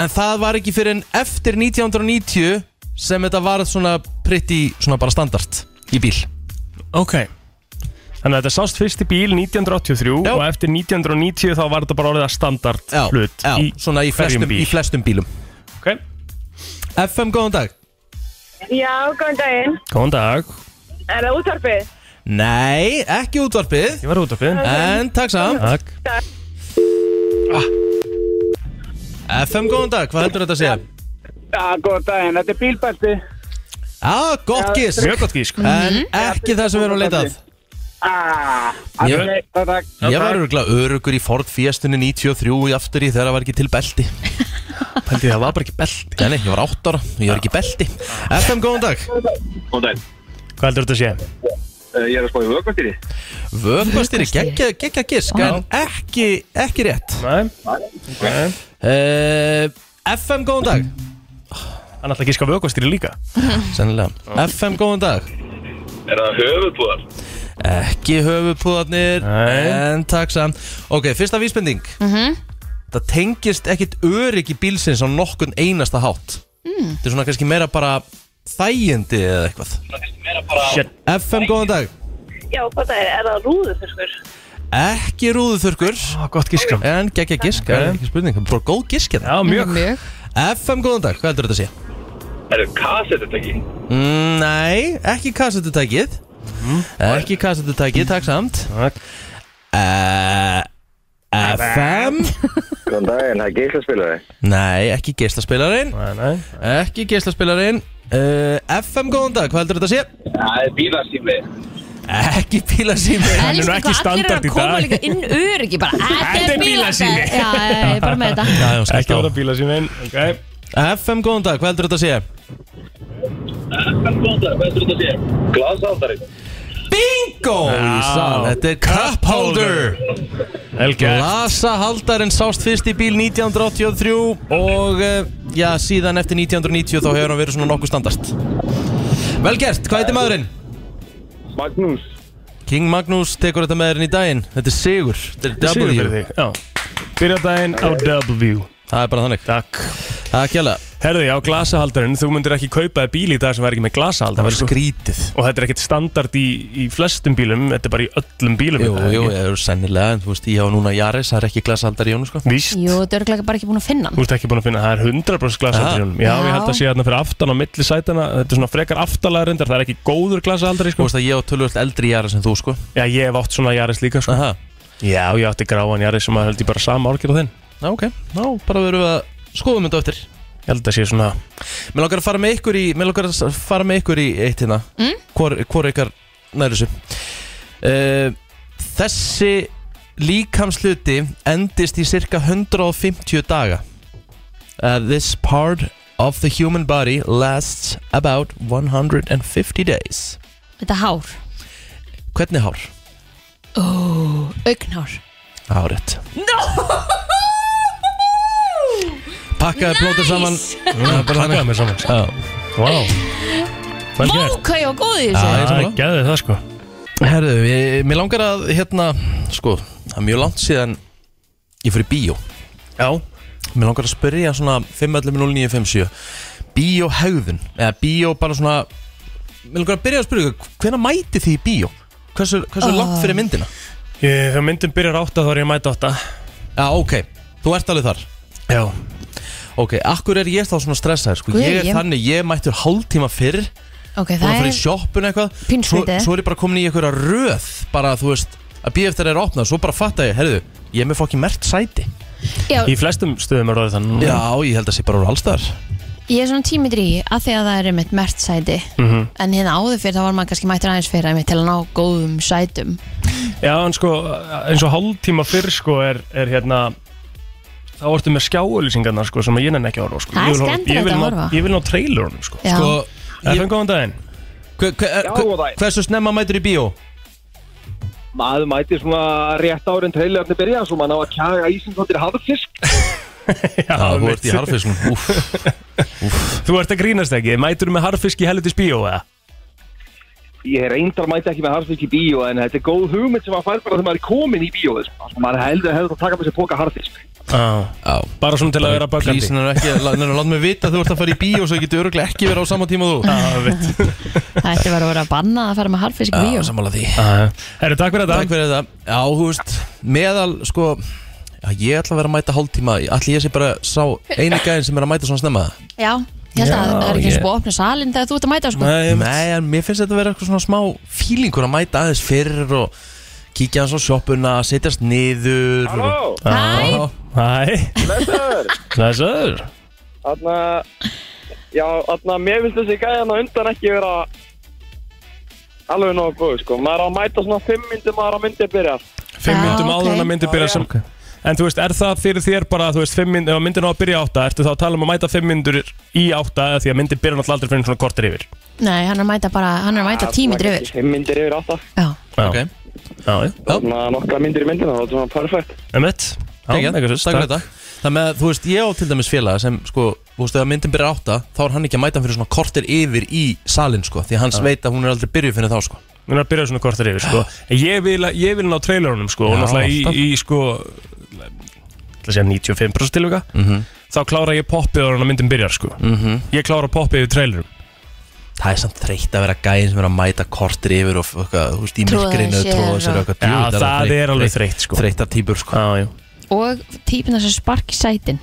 En það var ekki fyrir en eftir 1990 sem þetta var svona pretty, svona bara standard í bíl Ok Þannig að þetta sást fyrst í bíl 1983 Já. og eftir 1990 þá var þetta bara orðið að standard Já, hlut já svona í hverjum flestum, bíl. í flestum bílum Ok, FM, góðan dag Já, góðan daginn. góðan dag Er það útvarpið? Nei, ekki útvarpið Ég var út af finn En takk samt Takk FM, góðan dag, hvað heldur þetta að segja? Já, góðan daginn, þetta er bílbælti. Já, gott gís Mjög gott gísk En ekki það sem við erum að leita að Ah, Ég- alveg, það takk. Ég var öruglega örugur í Ford Fiestunni 93 í aftur í þegar það var ekki til belti Pældi það var bara ekki belti Nei, nei, ég var 8 ára og ég var ekki í belti FM, góðan dag Góðan daginn. Hvað heldur þetta að sé? Eh, Ég er að spá í vökkvastýri. Vökvastýri, geggja, geggja gisk Já. En ekki, ekki rétt Nei, nei uh, FM, góðan dag Hann ætla að gíska vökuastýri líka Sennilega FM, góðan dag Er það höfuðbúðar? Ekki höfuðpúðarnir Nei. En takk samt Ok, fyrsta vísbending Það tengist ekkit öryggi bílsins á nokkun einasta hátt Þetta er svona kannski meira bara þægindi eða eitthvað Shit. FM, góðan dag Já, hvað það er? Er það rúðufiskur? Ekki rúðuþurkur Ó, Gott gískram En geggja gisk, það er ekki spurning Það er bara góð gisk hérna Já, mjög Mjög FM, góðan dag, hvað heldur þetta að sé? Er það kassettutæki? Mm, nei, ekki kassetutækið Mm. Ekki kassetutækið, takk samt Takk. Eh, FM Góðan daginn, það er geislaspilari. Nei, ekki geislaspilarinn Nei, nei Ekki geislaspilarinn uh, FM, góðan dag, hvað heldur þetta að sé? Það er bílasími. Ekki bílasími er nú Elsku hvað allir ekki eru standard að í koma dag. líka inn öryggi bara Þetta er bílasími bílasími. Já, ég er bara með þetta Já, já, Ekki skallt verða bíla sín einn Ok á FM, góðan dag, hvað heldur þetta að sé? Góðan dag, hvað er þetta að sé? Glasaldari. Bingo! Já. Ísan, þetta er cup holder Helga Lasahaldarinn sást fyrst í bíl 1983 og eh, já, síðan eftir 1990 þá hefur hann verið svona nokkuð standast Vel gert, hvað heitir maðurinn? Magnús. King Magnús tekur þetta með þérinn í daginn Þetta er sigur, þetta er Sigur fyrir W þig Já Byrja daginn á W Það er bara þannig Takk Það er ekki alveg, Herði, á glasahaldarinn Þú myndir ekki kaupa þér bíl í dag sem væri ekki með það glasahaldar var skrítið Og þetta er ekkert standard í, í flestum bílum Þetta er bara í öllum bílum Jú, er það jú, ekki? það eru sennilega, en þú veist, ég hafa núna Jaris, það er ekki glasahaldar í honum, sko Víst Jú, þetta er örglega bara ekki búin að finna Þú hann ert ekki búin að finna, það er 100% glasahaldar í honum Já, Já. ég held að sé þarna fyrir aftan á milli sætana Þetta er svona frekar aftalega reyndar Það er ekki góður glasahaldari, Þú sko veist að ég á tölvöld eldri Jaris en þú, sko Já, ég hef átt svona Jaris líka, sko Aha, Já, ég átti gráan Jaris sem að held ég bara sama árgjörð á þinn já, ok, já, bara verum við að skoða mynda eftir Ég held að sé svona Mér langar að fara með ykkur í, mér langar að s- fara með ykkur í eitt hérna Mm? Hvor, hvor ykkar nær þessu uh, Þessi líkamsluti endist í cirka 150 daga uh, This part of the human body lasts about 150 days Þetta hár, Hvernig hár? augnhár Árið no! Pakkaði nice! plótur saman Takkaði mér saman Mm, Já, Vá Vel gert Vákau og góð í þessu Já, ég er Það sammála. er gæðið það sko Herðu, ég- mér langar að hérna Sko, það er mjög langt síðan Ég fyrir bíó Já Mér langar að spyrja svona 5.11.09.57 Bíóhegðun Eða bíó bara svona Mér langar að byrja að spyrja ykkur, Hvenær mæti þið í bíó? Hversu, hversu langt fyrir myndina? Ég- Þegar myndin byrjar átta þá er ég að mæta átta Já, ok, þú ert alveg þar Já Ok, akkur er ég þá svona stressaður? Sko, Guð, ég er ég- þannig, ég mættur hálftíma fyrr Ok, búin að það fara í er sjoppun eitthvað Pínu svo, skrítið. svo er ég bara komin í einhverja röð bara þú veist að býja eftir þeirra opna svo bara fatta ég, herðu, ég er með fokkin mert sæti Já, Í flestum stöðum er það þannig Já, ég held að sé bara úr allstæðar ég er svona tímið í að því að það er einmitt mert sæti Mhm. En hérna áður fyrir þá var maður kannski mættur aðeins fyrir einmitt til að ná góðum sætum Já, en sko eins og hálftíma fyrr sko er, er hérna Þá ertu með skjáauðlýsingarnar sko sem ég nenni ekki að horfa sko Það er Ég vil horfa- skemmtilegt ég vil að ná- horfa. Ég vil ná trailurunum sko Já, Sko, Það er góðan daginn hver, hver, er- góðan hver, daginn. hversu snemma mætur í bíó? Maður mæti svona rétt árin trailerni byrja, svo maður ná að kjaga ísingkondir hafðfisk. Já, Já, þú mitt. ert í harfiskum Úf, Þú ert að grínast ekki, mætur með harfisk í helvitis bíó eða? Ég er reyndar mæti ekki með harfisk í bíó, en þetta er góð hugmynd sem maður fær bara þegar maður er komin í bíó. Sko, maður heldur að hefur það að taka með sér póka harfisk. Já á Bara svona til að vera bakandi Plísin er ekki, nefnir að láta mig vita að þú ert að fara í bíó svo ég getur öruglega ekki verið á sama tíma og þú Já, veit það ætti bara að vera að banna að fara með harfisk í bíó sammála því Herru, takk fyrir Takk þetta fyrir þetta Já, þú veist, meðal, sko já, Ég ætla að vera að mæta hálftíma Allir ég sé bara sá eini gæðin sem er að mæta svona snemma Já, ég held að Já, það er ekki ég- eins og opna salin þegar þú ert að mæta sko Nei, en mér finnst þetta að vera eitthvað svona smá fílingur að mæta aðeins fyrr og kíkja hans á sjoppuna, setjast niður og... Halló, Hæ, Hæ blessaður. Blessaður Þarna, já, þarna, mér finnst þessi gæðan á undan ekki vera alveg nógu góð, sko. Maður er að mæta svona fimm myndum aðra myndið byrjar. Fimm Já, myndum áður ok. en að myndi byrja sem En þú veist, er það fyrir þér bara, þú veist, fimm mynd, ef myndin á að byrja átta, ertu þá að tala um að mæta fimm myndur í átta, eða því að myndin byrja náttúrulega aldrei fyrir svona kortir yfir. Nei, hann er að mæta bara, hann er að mæta tími dröfur Fimm myndir yfir átta Já, Já, Ok, já, já. Þannig að nokkra myndir í myndina, þá er það perfekt Emmett. Geggjað. takk fyrir þetta Þannig að þú veist, ég á til dæmis félaga sem sko, þú veist, ef myndin byrjar átta þá er hann ekki að mæta fyrir svona kortir yfir í salin sko, því að hans veit að hún er aldrei byrjuð fyrir þá sko Mér er að byrja svona kortir yfir, sko. En Ég vil, að- ég vil ná trailerunum, sko, og Já, náttúrulega í, alltaf. í, sko, ætla að segja 95% tilvika, þá klára ég poppið ára en að myndin byrjar, sko. -hmm. Ég klára poppið yfir trailerum. Það er samt þreytt að vera gæðin sem er að mæta kortir yfir og eitthvað, þú veist, í Troða myrkrinu sér tróða og- sér og eitthvað Já, djú, það er alveg þreytt, sko. Þreyttar típur sko Já, já. og típina sem spark í sætin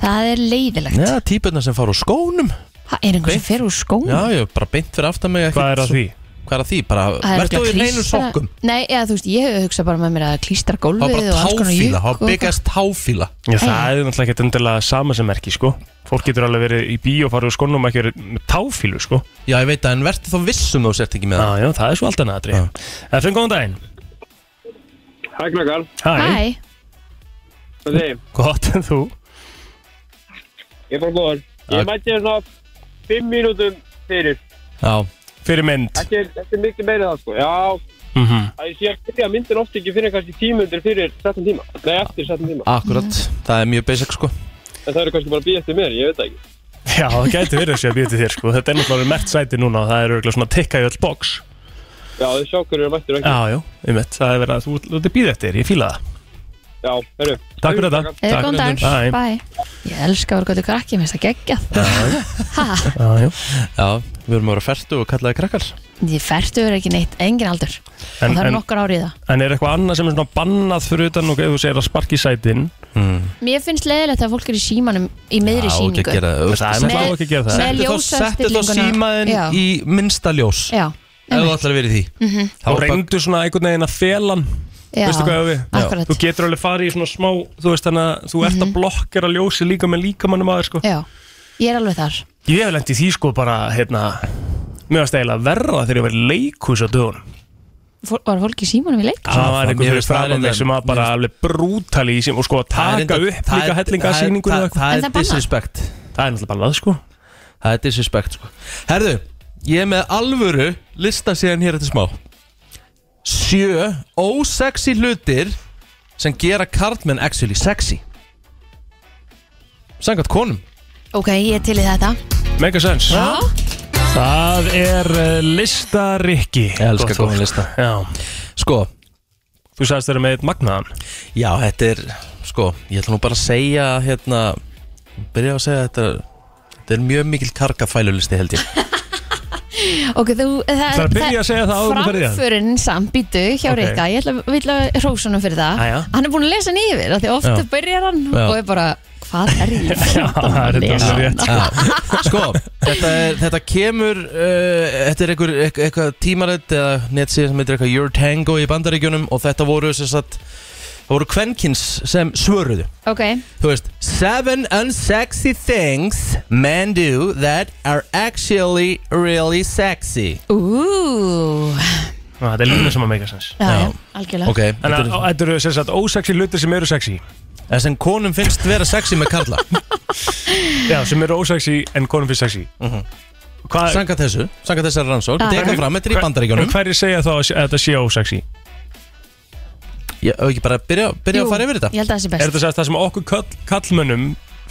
Það er leiðilegt Já, típurnar sem fara úr skónum Það er einhver sem Beint. fer úr skónum Já, ég er bara beint fyrir aftan mig Hvað er að því? Hvað er að því? Bara, Það er verður þú í örugglega reynum klístra- sokkum Nei, eða þú veist, ég hef hugsað bara með mér að klístra Það var gólfið bara og alls konar táfíla, jukk það og- var byggast táfíla Já, það er náttúrulega ekkert undirlega sama sem merki, sko. Fólk getur alveg verið í bíó, farið úr skónum og ekki verið með táfílu, sko. Ah, Já, ég veit að en verður þá vissum þú sért ekki með það Já, já, það er svo alltaf næðri. Já. Efinn, góðan daginn. Hæ, krakkar, Hæ. Hæ, hvað segir? Gott, en þú? Ég er bara góður Ég mætti þér svona fimm mínútum fyrir Já, Fyrir mynd. Þetta er, þetta er mikið meira það, sko Já, Mm að ég sé að byrja myndin oft ekki fyrir kannski tímundir fyrir 17 tíma Nei, eftir 17 tíma akkurat, það er mjög basic sko En það eru kannski bara að býja eftir mér, ég veit það ekki Já, það gæti verið að sé að býja til þér, sko. Þetta er náttúrulega mert sæti núna og það er örgulega svona tikka í öll box. Já, þau sjá hverju eru mættir og ekki Já, já, ég veit. Það er verið að þú þú ert að býða eftir, ég fíla það. Já, herru Takk fyrir þetta. eða Takk. góðan dag, Bye. bæ Ég elska að vera gott ykkur ekki, mér finnst það geggjað Ha, Já, já. Já, við erum að vera ferdu og kallaði krakkar ég ferdu verið ekki neitt, engin aldur En- Og það en- eru nokkur árið það En er eitthvað annað sem er svona bannað fyrir utan og ef þú segir að sparki í sætin? Mér finnst leiðilegt að fólk er í símanum í miðri Já, síningu ekki að gera Það er það náttúrulega á ekki að gera það. með Settu þá- Settu þá ljósastillinguna símaðin já, í minnsta ljós já, Mhm. Ef þú ætlar að vera í því Þá Þá er bara- reyndu svona einhvern veginn að felan já, Veistu hvað ég á við? Akkúrat. Þú getur alveg farið í svona smá Þú veist þannig að þú ert að blokkera ljósi líka með líkamannum aðeins sko Mhm. já, ég er alveg þar Ég hef lendið því sko bara hérna Mér varst eiginlega verra þegar ég var í leikhús á dögun Fól, var fólk í símanum í leik? Ah, Það var mér einhver fyrir finnst það framann reyndar- mig sem var bara alveg brútali í sím og sko Það er að taka reyndar- upp það líka er- hellinga það er- síningur það- eða eitthvað. Það En það er er bannað. disrespect Það er náttúrulega bannað sko Það er disrespect sko Herðu, ég er með alvöru lista síðan hér eftir smá Sjö ósexy hlutir sem gera karlmenn actually sexy Sangat konum ok, ég er til í þetta Mega sens Það er eh, listarikki Ég elska Gott fólk. góðan lista. Já. Sko, Þú sagðist þeirra með eitt magnaðan já, þetta er sko, ég ætla nú bara að segja hérna, byrja að segja að þetta þetta er mjög mikil karkafælulisti held ég ok, þú, það, Það er að byrja að segja það áður en þú ferð í það. framförin samt býtu hjá Ok. Rikka, ég ætla vil að hrósa honum fyrir það, Jæja. hann er búin að lesa hann yfir af því ofta Já. byrjar hann Já. og er bara hvað er ég Ah, Það er að þetta lesa alveg rétt Já, sko, þetta, er, þetta kemur uh, Þetta er einhver, eitth- eitthvað tímarit eða netsíð sem heitir eitthvað Your Tango í bandaríkjunum og þetta voru sem sagt, það voru kvenkins sem svöruðu ok, Þú veist, seven unsexy things men do that are actually really sexy úúúú Já, Ah, Þetta er lína sem að make sense já, Já. já, algjörlega Ok, En þetta að- er- á- þetta eru sem sagt ósexy hlutir sem eru sexy það sem konum finnst vera sexy með karla Já, sem eru ósexy en konum finnst sexy Hvað Sangat Mhm. þessu, sangat þessari rannsók Já. Dekka fram, þetta er í bandaríkjunum Hverju segja þá að s- að þetta sé ósexy? Ég hef ekki bara að byrja, byrja að fara yfir ég þetta held að það sé Er best þetta sagt það sem okkur kall, kallmönnum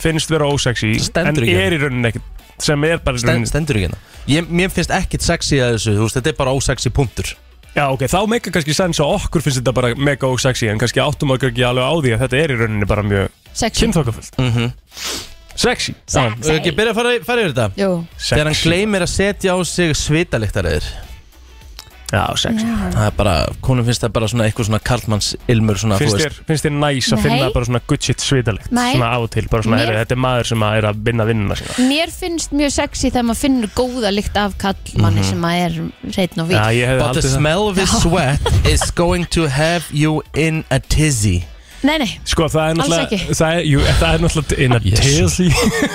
finnst vera ósexy Stendur En ekki hérna. er í rauninni ekkert sem er bara í Stend, rauninni stendur ekki hérna Ég- Mér finnst ekkit sexy að þessu, þú veist, þetta er bara ósexy punktur Já, ok, þá meika kannski sens að okkur finnst þetta bara mega ósexy En kannski áttum okkur ekki alveg á því að þetta er í rauninni bara mjög sexy, kynþokkafullt Mhm. Sexy Hefur ekki byrjað að fara, fara yfir þetta? jú Sexy. Þegar hann gleymir að setja á sig svitalyktaræðir Já, sexy Það er bara, konum finnst það bara svona eitthvað svona karlmanns ilmur svona, finnst þér, finnst þér næs að Nei. finna bara svona good shit svitalegt Nei. svona á og til, bara svona, Mér- er, þetta er maður sem að er að vinna vinnuna sína Mér finnst mjög sexy þegar maður finnur góða lykt af kallmanni sem að er reitn og víl. Mhm. Já, ég hefði But the haldið það smell of his sweat is going to have you in a tizzy Nei, nei, Sko það er Alls náttúrulega ekki. það er, jú, það er náttúrulega in a Jesus. tesi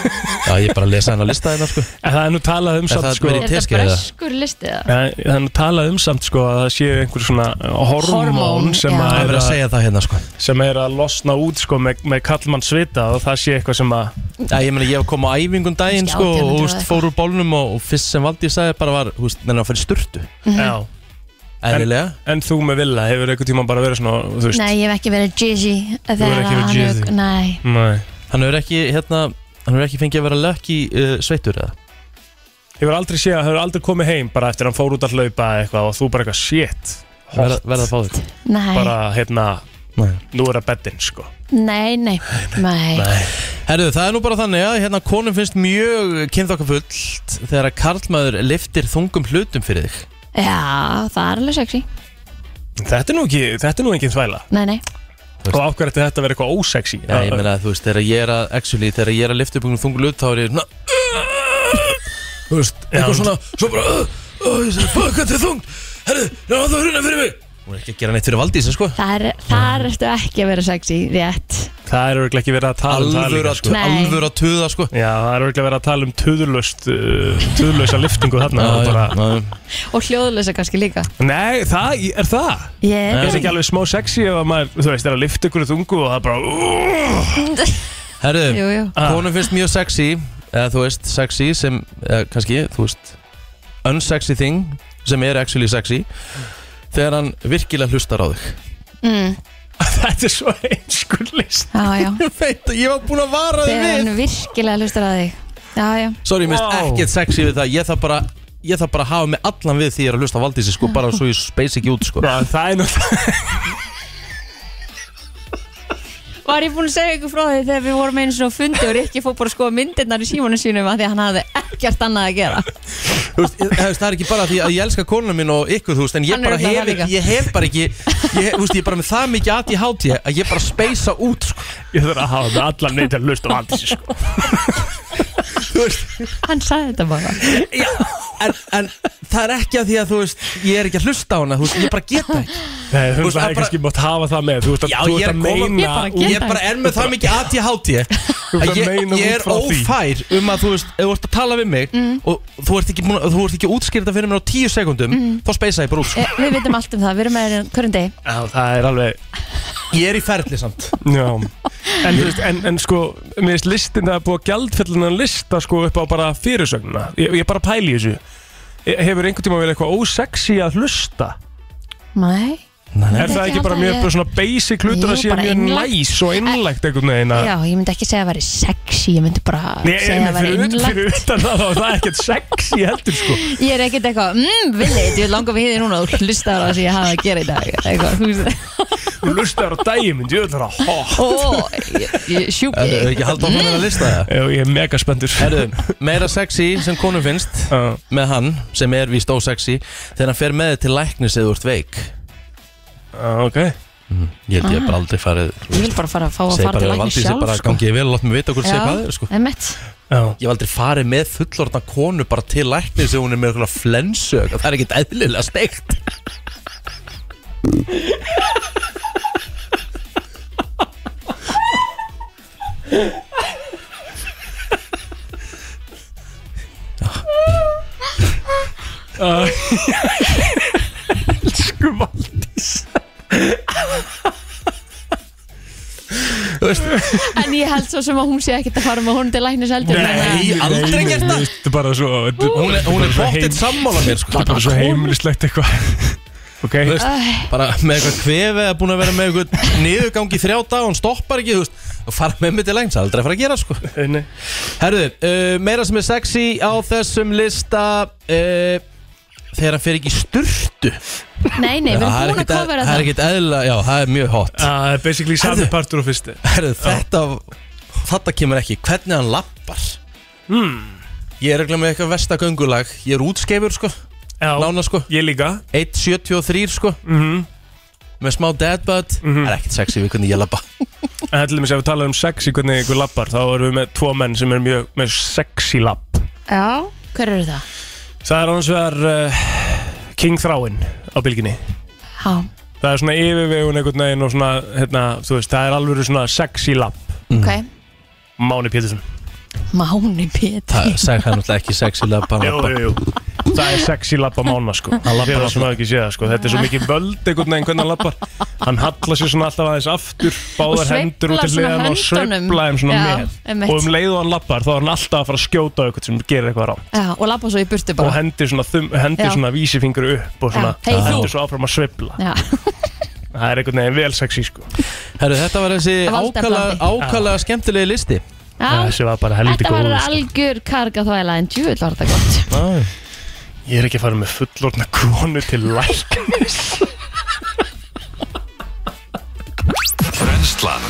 Já, ég er bara að lesa hennar lista hérna, sko En það er nú talað um Er það samt sko verið er en í- þetta Teskeið eða? breskur listið eða? Það er nú talað um samt sko að það séu einhver svona hormón Hormón, já. sem, að Það er er verið að að, segja það hérna, sko sem er að losna út sko með, með kallmann svita og það sé eitthvað sem að Já, ég meina, ég hef komið á æfingum daginn, Kannski sko og, 1800 eða þú veist, fór úr bólnum og, og fyrst sem Valdi sagði bara var, þú veist, neina að fyrir sturtu Mhm. já, Eðlilega En þú með Villa hefur einhver tíma bara verið svona þú veist Nei, ég hef ekki verið jizzy hefur þegar ekki verið hann hefur- jizzy. Nei, Nei. Hann hefur ekki, hérna, hann hefur ekki fengið að vera lökki uh, sveitur, eða? Hefur aldrei séð, hefur aldei komið heim bara eftir að hann fór út að hlaupa eða eitthvað og þú bara eitthvað shit Verða, verða að fá þig nei, bara hérna, Nei. nú er það beddinn sko nei, nei, nei, Herðu, það er nú bara þannig að hérna konum finnst mjög kynþokkafullt þegar að karlmaður liftir þungum hlutum fyrir þig Já, það er alveg sexy Þetta er nú ekki, þetta er nú engin þvæla Nei, nei, Og ákveður þetta að vera eitthvað ósexy Já, ég meina, þú veist, þegar ég er að, actually, þegar ég er að lifta upp um þungum hlut þá er ég svona Þú veist, eitthvað Já. svona, svo bara "Ugh, ugh," ég segi, Fuck, hvað þetta er þungt Herðu, ná það að hruna fyrir mig Hún er ekki að gera neitt fyrir Valdísi, sko þar, þar ertu ekki að vera sexy, rétt Það er örugglega ekki verið að tala um það Alvöru líka að sko. tu- Nei. alvöru að tuða, sko Já, það er örugglega verið að tala um töðurlöst uh, töðurlösa liftingu þarna og bara, já, já. Og hljóðlösa kannski líka Nei, það er það Ég Það er ekki alveg smá sexy ef að maður, þú veist, er að lifta ykkur þungu og það er bara uh, Jú, Herðu, jú konum finnst mjög sexy eða þú veist, sexy sem eða, kannski, þú veist unsexy thing sem er actually sexy þegar hann virkilega hlustar á þig mm. Þetta er svo einskur list Já, já, Ég veit, ég var búin að vara þig þegar hann við virkilega hlustar að þig Já, já, Sorry, mér finnst Wow. ekkert sexy við það Ég þarf bara, ég þarf bara að hafa mig allan við því ég er að hlusta á Valdísi sko, bara svo ég space ekki út sko. Það er náttúrulega Var ég búin að segja ykkur frá því þegar við vorum einu svona á fundi og Rikki fór bara að skoða myndirnar í símónu sínum að því að hann hafði ekkert annað að gera Þú veist, ég- þú veist, Það er ekki bara því að ég elska konuna mín og ykkur þú veist, en ég Hann er bara örugglega hef það ekki líka. ég hef bara ekki, ég, hef- þú veist, ég er bara með það mikið aðt í hátíð að ég bara spacea út sko. Ég þarf að hafa með allan neitt að hlusta á alls sko. Hann sagði þetta bara Já, en, en það er ekki að því að þú veist ég er ekki að hlusta á hana, þú veist, ég bara geta ekki Nei, þú Þú veist, veist, að það er bara- kannski mátt hafa það með Þú veist að, Já, ég þú veist er að að koma- meina ég bara út- Ég bara er með það mikið ADHD ert að að ég, meina ég út er frá því. ófær um að þú veist, ef þú ert að tala við mig Mm. og þú ert ekki, búin að- þú ert ekki útskýrta fyrir mér á tíu sekundum, þá speysa ég bara út sko. Eh, Við vitum allt um það, við erum með þér hverjum degi Já, það er alveg Ég er í ferli samt Já, en, þú veist, en, en sko, mér finnst listin það er búið að gjaldfellina lista sko upp á bara fyrirsögnuna. Ég, ég bara pæli í þessu. Ég- Hefur einhvern tíma verið eitthvað ósexy að hlusta? Nei Nei, Er það ekki ekki bara alltaf, mjög ég- bara svona basic hlutur Jú, að sé bara mjög einlægt. næs og innlægt einhvern Ah. veginn að... Já, ég myndi ekki segja að það væri sexy, ég myndi bara Nei, segja en að það væri fyrir, innlagt fyrir utan það þá er það ekkert sexy heldur sko. Ég er ekkert eitthvað, mmm, villið, ég langar mig hér núna og hlusta á það sem ég hafa að gera í dag eitthvað, þú veist Þú lustar á daginn, minn, ég vil það að hó. Ó, ég- ég sjúpi Erðu ekki að halda áfram með að lista það? Já, ég er mega spenntur. Erðu, meira sexy sem konum finnst Já. með hann, sem er víst ósexy þegar hann fer með þið til læknis eða þú ert veik Já, ok. Ég held ég hef bara aldrei farið Ah. Ég vil bara fara að fá að segi fara til bara að lækni Valdís er sjálf bara sko. gangið vel og látt mig vita hvort sé hvað er sko emmett Já. Ég hef aldrei farið með fullorðna konu bara til læknis þegar hún er með eitthvað flensu eitthvað. Það er ekkert eðlilega steikt Elsku Valdís. Þú veist, En ég held svo sem að hún sé ekkert að fara með hún til læknis heldur Nei. aldrei nei, gert nei, það. Þetta er bara svo... þetta er- Hún er, hún er þetta bara svo bóttið heim- sammála mér sko. bara svo heimilislegt eitthvað ok Þú veist, bara með eitthvað kvefi eða búin að vera með eitthvað niðurgang í þrjá dag og hún stoppar ekki, þú veist og fara með mig til læknis, aldrei að fara að gera sko Nei. Herðu, uh, meira sem er sexy á þessum lista uh, þegar hann fer ekki í sturtu Nei, nei, við Já, það er erum búin að ekkert eð- kofera Það er það ekkert eðla, já, það er mjög hot það er basically sami Herðu. partur á fyrstu Herðu, þetta Þetta kemur ekki, hvernig hann lappar hmm. Ég er eiginlega með eitthvað vestagöngulag Ég er útskeifur sko Lána sko, ég líka Mhm. 1.73 sko Mm. Með smá deadbutt Það er ekkert sexy við hvernig ég lappa en það er til dæmis ef við tala um sexy hvernig ykkur lappar þá erum við með tvo menn sem er mjög með sexy lapp Já, hver eru það? eh, það er annars vegar uh, King Þráin á bylginni Já, það er svona yfirvegun einhvern veginn og svona, hérna, þú veist, það er alveg svona sexy lab, Ok, Máni Pétursson Máni Pétur Það sagði hann náttúrulega ekki sexy labba Jú, jú, jú Það er sexy labba mána sko Fyrir það sem hafa ekki séð það sko Þetta er svo Ah. mikið völd einhvern veginn hvernig hann lappar Hann hallar sér svona alltaf aðeins aftur Báðar sveiflar hendur út til svona hliðan og höndunum. sveifla þeim svona Já, með einmitt. Og um leið og hann lappar þá er hann alltaf að fara að skjóta á eitthvað sem gerir eitthvað rám Já, og labba svo í burtu Og bara hendir svona, þum, hendir Já. svona vísifingru upp og svona Já, hey, þú. hendir svo áfram að sveifla Já, Það er einhvern veginn vel sexy sko Herru, þetta var þessi Valdablandi. ákala- ákala skemmtilegi listi Já. Þessi var bara helviti Þetta var góð sko. algjör karga þvæla en djúvill var þetta gott Ég er ekki að fara með fullorna konu til læknis Brennslan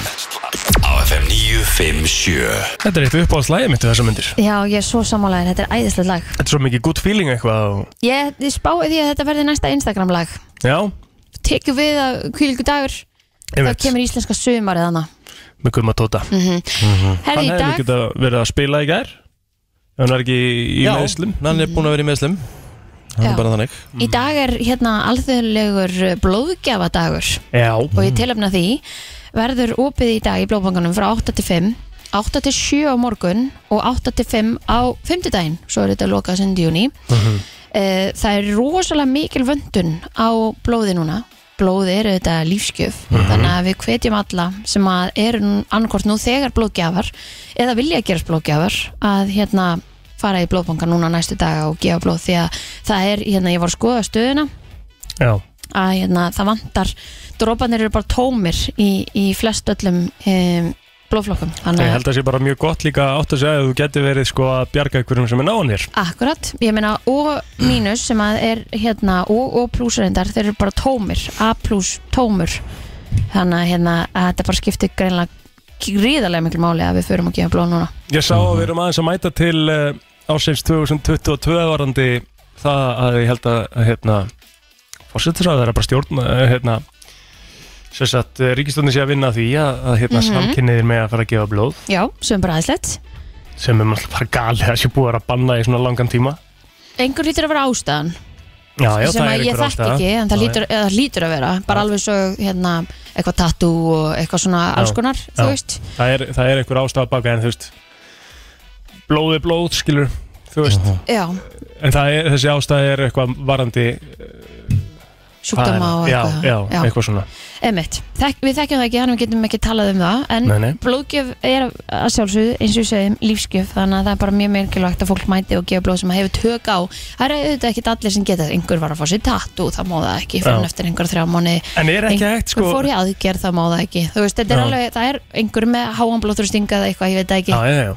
Á FM 957 Þetta er eitt uppáhaldslægi mitt í þessum myndir Já, ég er svo sammálaðin, þetta er æðislegt lag Þetta er svo mikið good feeling eitthvað og... Ég, ég spái því að þetta verði næsta Instagram lag Já, Tekur við að kvílgu dagur Þá einmitt kemur íslenska sumarið hana með Gumma Tóta Herri Hann Mhm. í hefði dag geta verið að spila í gær ef hann er ekki í Já, meðslum Hann er búin að vera í meðslum Hann Já. er bara þannig Í dag er hérna alþjóðlegur blóðgjafadagur Já, og ég tilöfna því verður opið í dag í blóðbankanum frá 8 til 5 8 til 7 á morgun og 8 til 5 á 5 daginn svo er þetta lokað sinn júni Eh, Það er rosalega mikil vöndun á blóði núna blóð er þetta lífskjöf þannig að við hvetjum alla sem að eru annarkort nú þegar blóðgjafar eða vilja að gerast blóðgjafar að hérna fara í blóðbanka núna næstu daga og gefa blóð því að það er, hérna ég var að skoða stöðuna já, að hérna, það vantar dropanir eru bara tómir í, í flest öllum um, blóðflokkum ég þannig held að það sé bara mjög gott líka átt að segja að þú geti verið sko að bjarga einhverjum sem er náðanir akkurat, ég meina O mínus sem að er hérna og O plus reyndar, þeir eru bara tómir A plus tómur þannig að, hérna, að þetta bara skiptir greinlega gríðarlega miklu máli að við förum að gefa blóð núna Ég sá að við erum aðeins að mæta til uh, ásins 2022 varandi það að ég held að að, hérna, fórsetur að það er bara stjórn eh, hérna, sem sagt, ríkistöndin sé að vinna að því að, að hérna, Mhm. samkynniðir með að fara að gefa blóð já, sem er bara aðeinslegt sem er náttúrulega bara galið að sé búið að vera að banna í svona langan tíma einhver lítur að vera ástæðan já, já, sem það er að ég einhver þekki ástæða. ekki en það Já, lítur, eða það lítur að vera bara alveg svo hérna, eitthvað tattoo og eitthvað svona alls Já. konar þú Já. veist það er, það er einhver ástæða baka en þú veist blóð er blóð skilur þú veist Já, en það er, þessi ástæða er eitthvað varandi hvað sjúkdama og er- já, eitthvað já, eitthvað svona Einmitt. Þek, Við þekkjum það ekki, þannig við getum ekki talað um það en Nei, nei. blóðgjöf er að sjálfsögðu eins og við segjum lífsgjöf þannig að það er bara mjög mikilvægt að fólk mæti og gefa blóð sem það hefur tök á Það eru auðvitað ekki allir sem geta einhver var að fá sér tattu, það má það ekki fyrir Já. eftir einhver þrjá mánu en er ekki hægt sko fór í aðgerð, það má það ekki Þú veist, þetta er Já. alveg, það er einhver með háan blóðþrýsting eða eitthvað, ég veit það ekki já, já, já.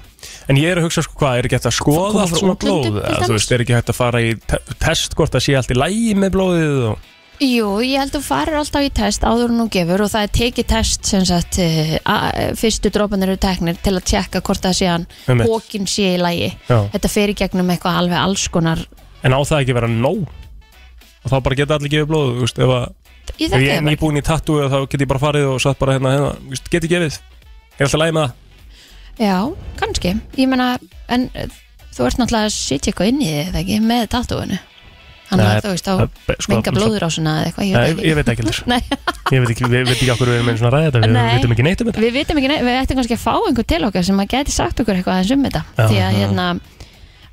en ég er að hugsa sko hvað er ekki hægt að skoða Koma allt frá svona útlöndum, blóð til eða, þú dæmis? veist er ekki hægt að fara í te test hvort það sé allt í lægi með blóðið og Jú, ég held að þú farir alltaf í test áður en þú gefur og það er tekið test sem sagt, eh, a- fyrstu dropanir eru teknir til að tjekka hvort það sé hann Einmitt. hókin sé í lagi Já. þetta fer í gegnum eitthvað alveg alls konar en á það ekki að vera nóg og þá bara geta allir gefið blóð þú veist, ef, að, ég ef þekki ég er það bara nýbúin í tattoo þá get ég bara farið og satt bara hérna, hérna þú veist, geti gefið, er alltaf lægi með það Já, kannski, ég meina en eh, þú ert náttúrulega að sitja eitthvað inn í þig eða ekki, með tattúinu þannig Nei, að þú veist á það er- sko, menga blóðurásuna eða eitthvað, Nei, ég veit ég veit ekki heldur Nei. Ég veit ekki, við veit ekki okkur við erum einu svona ræðið Við Nei. veitum ekki neitt um ekki Við vitum ekki, nei, við ættum kannski að fá einhver til okkar sem að geti sagt okkur eitthvað aðeins um þetta Já. því að hérna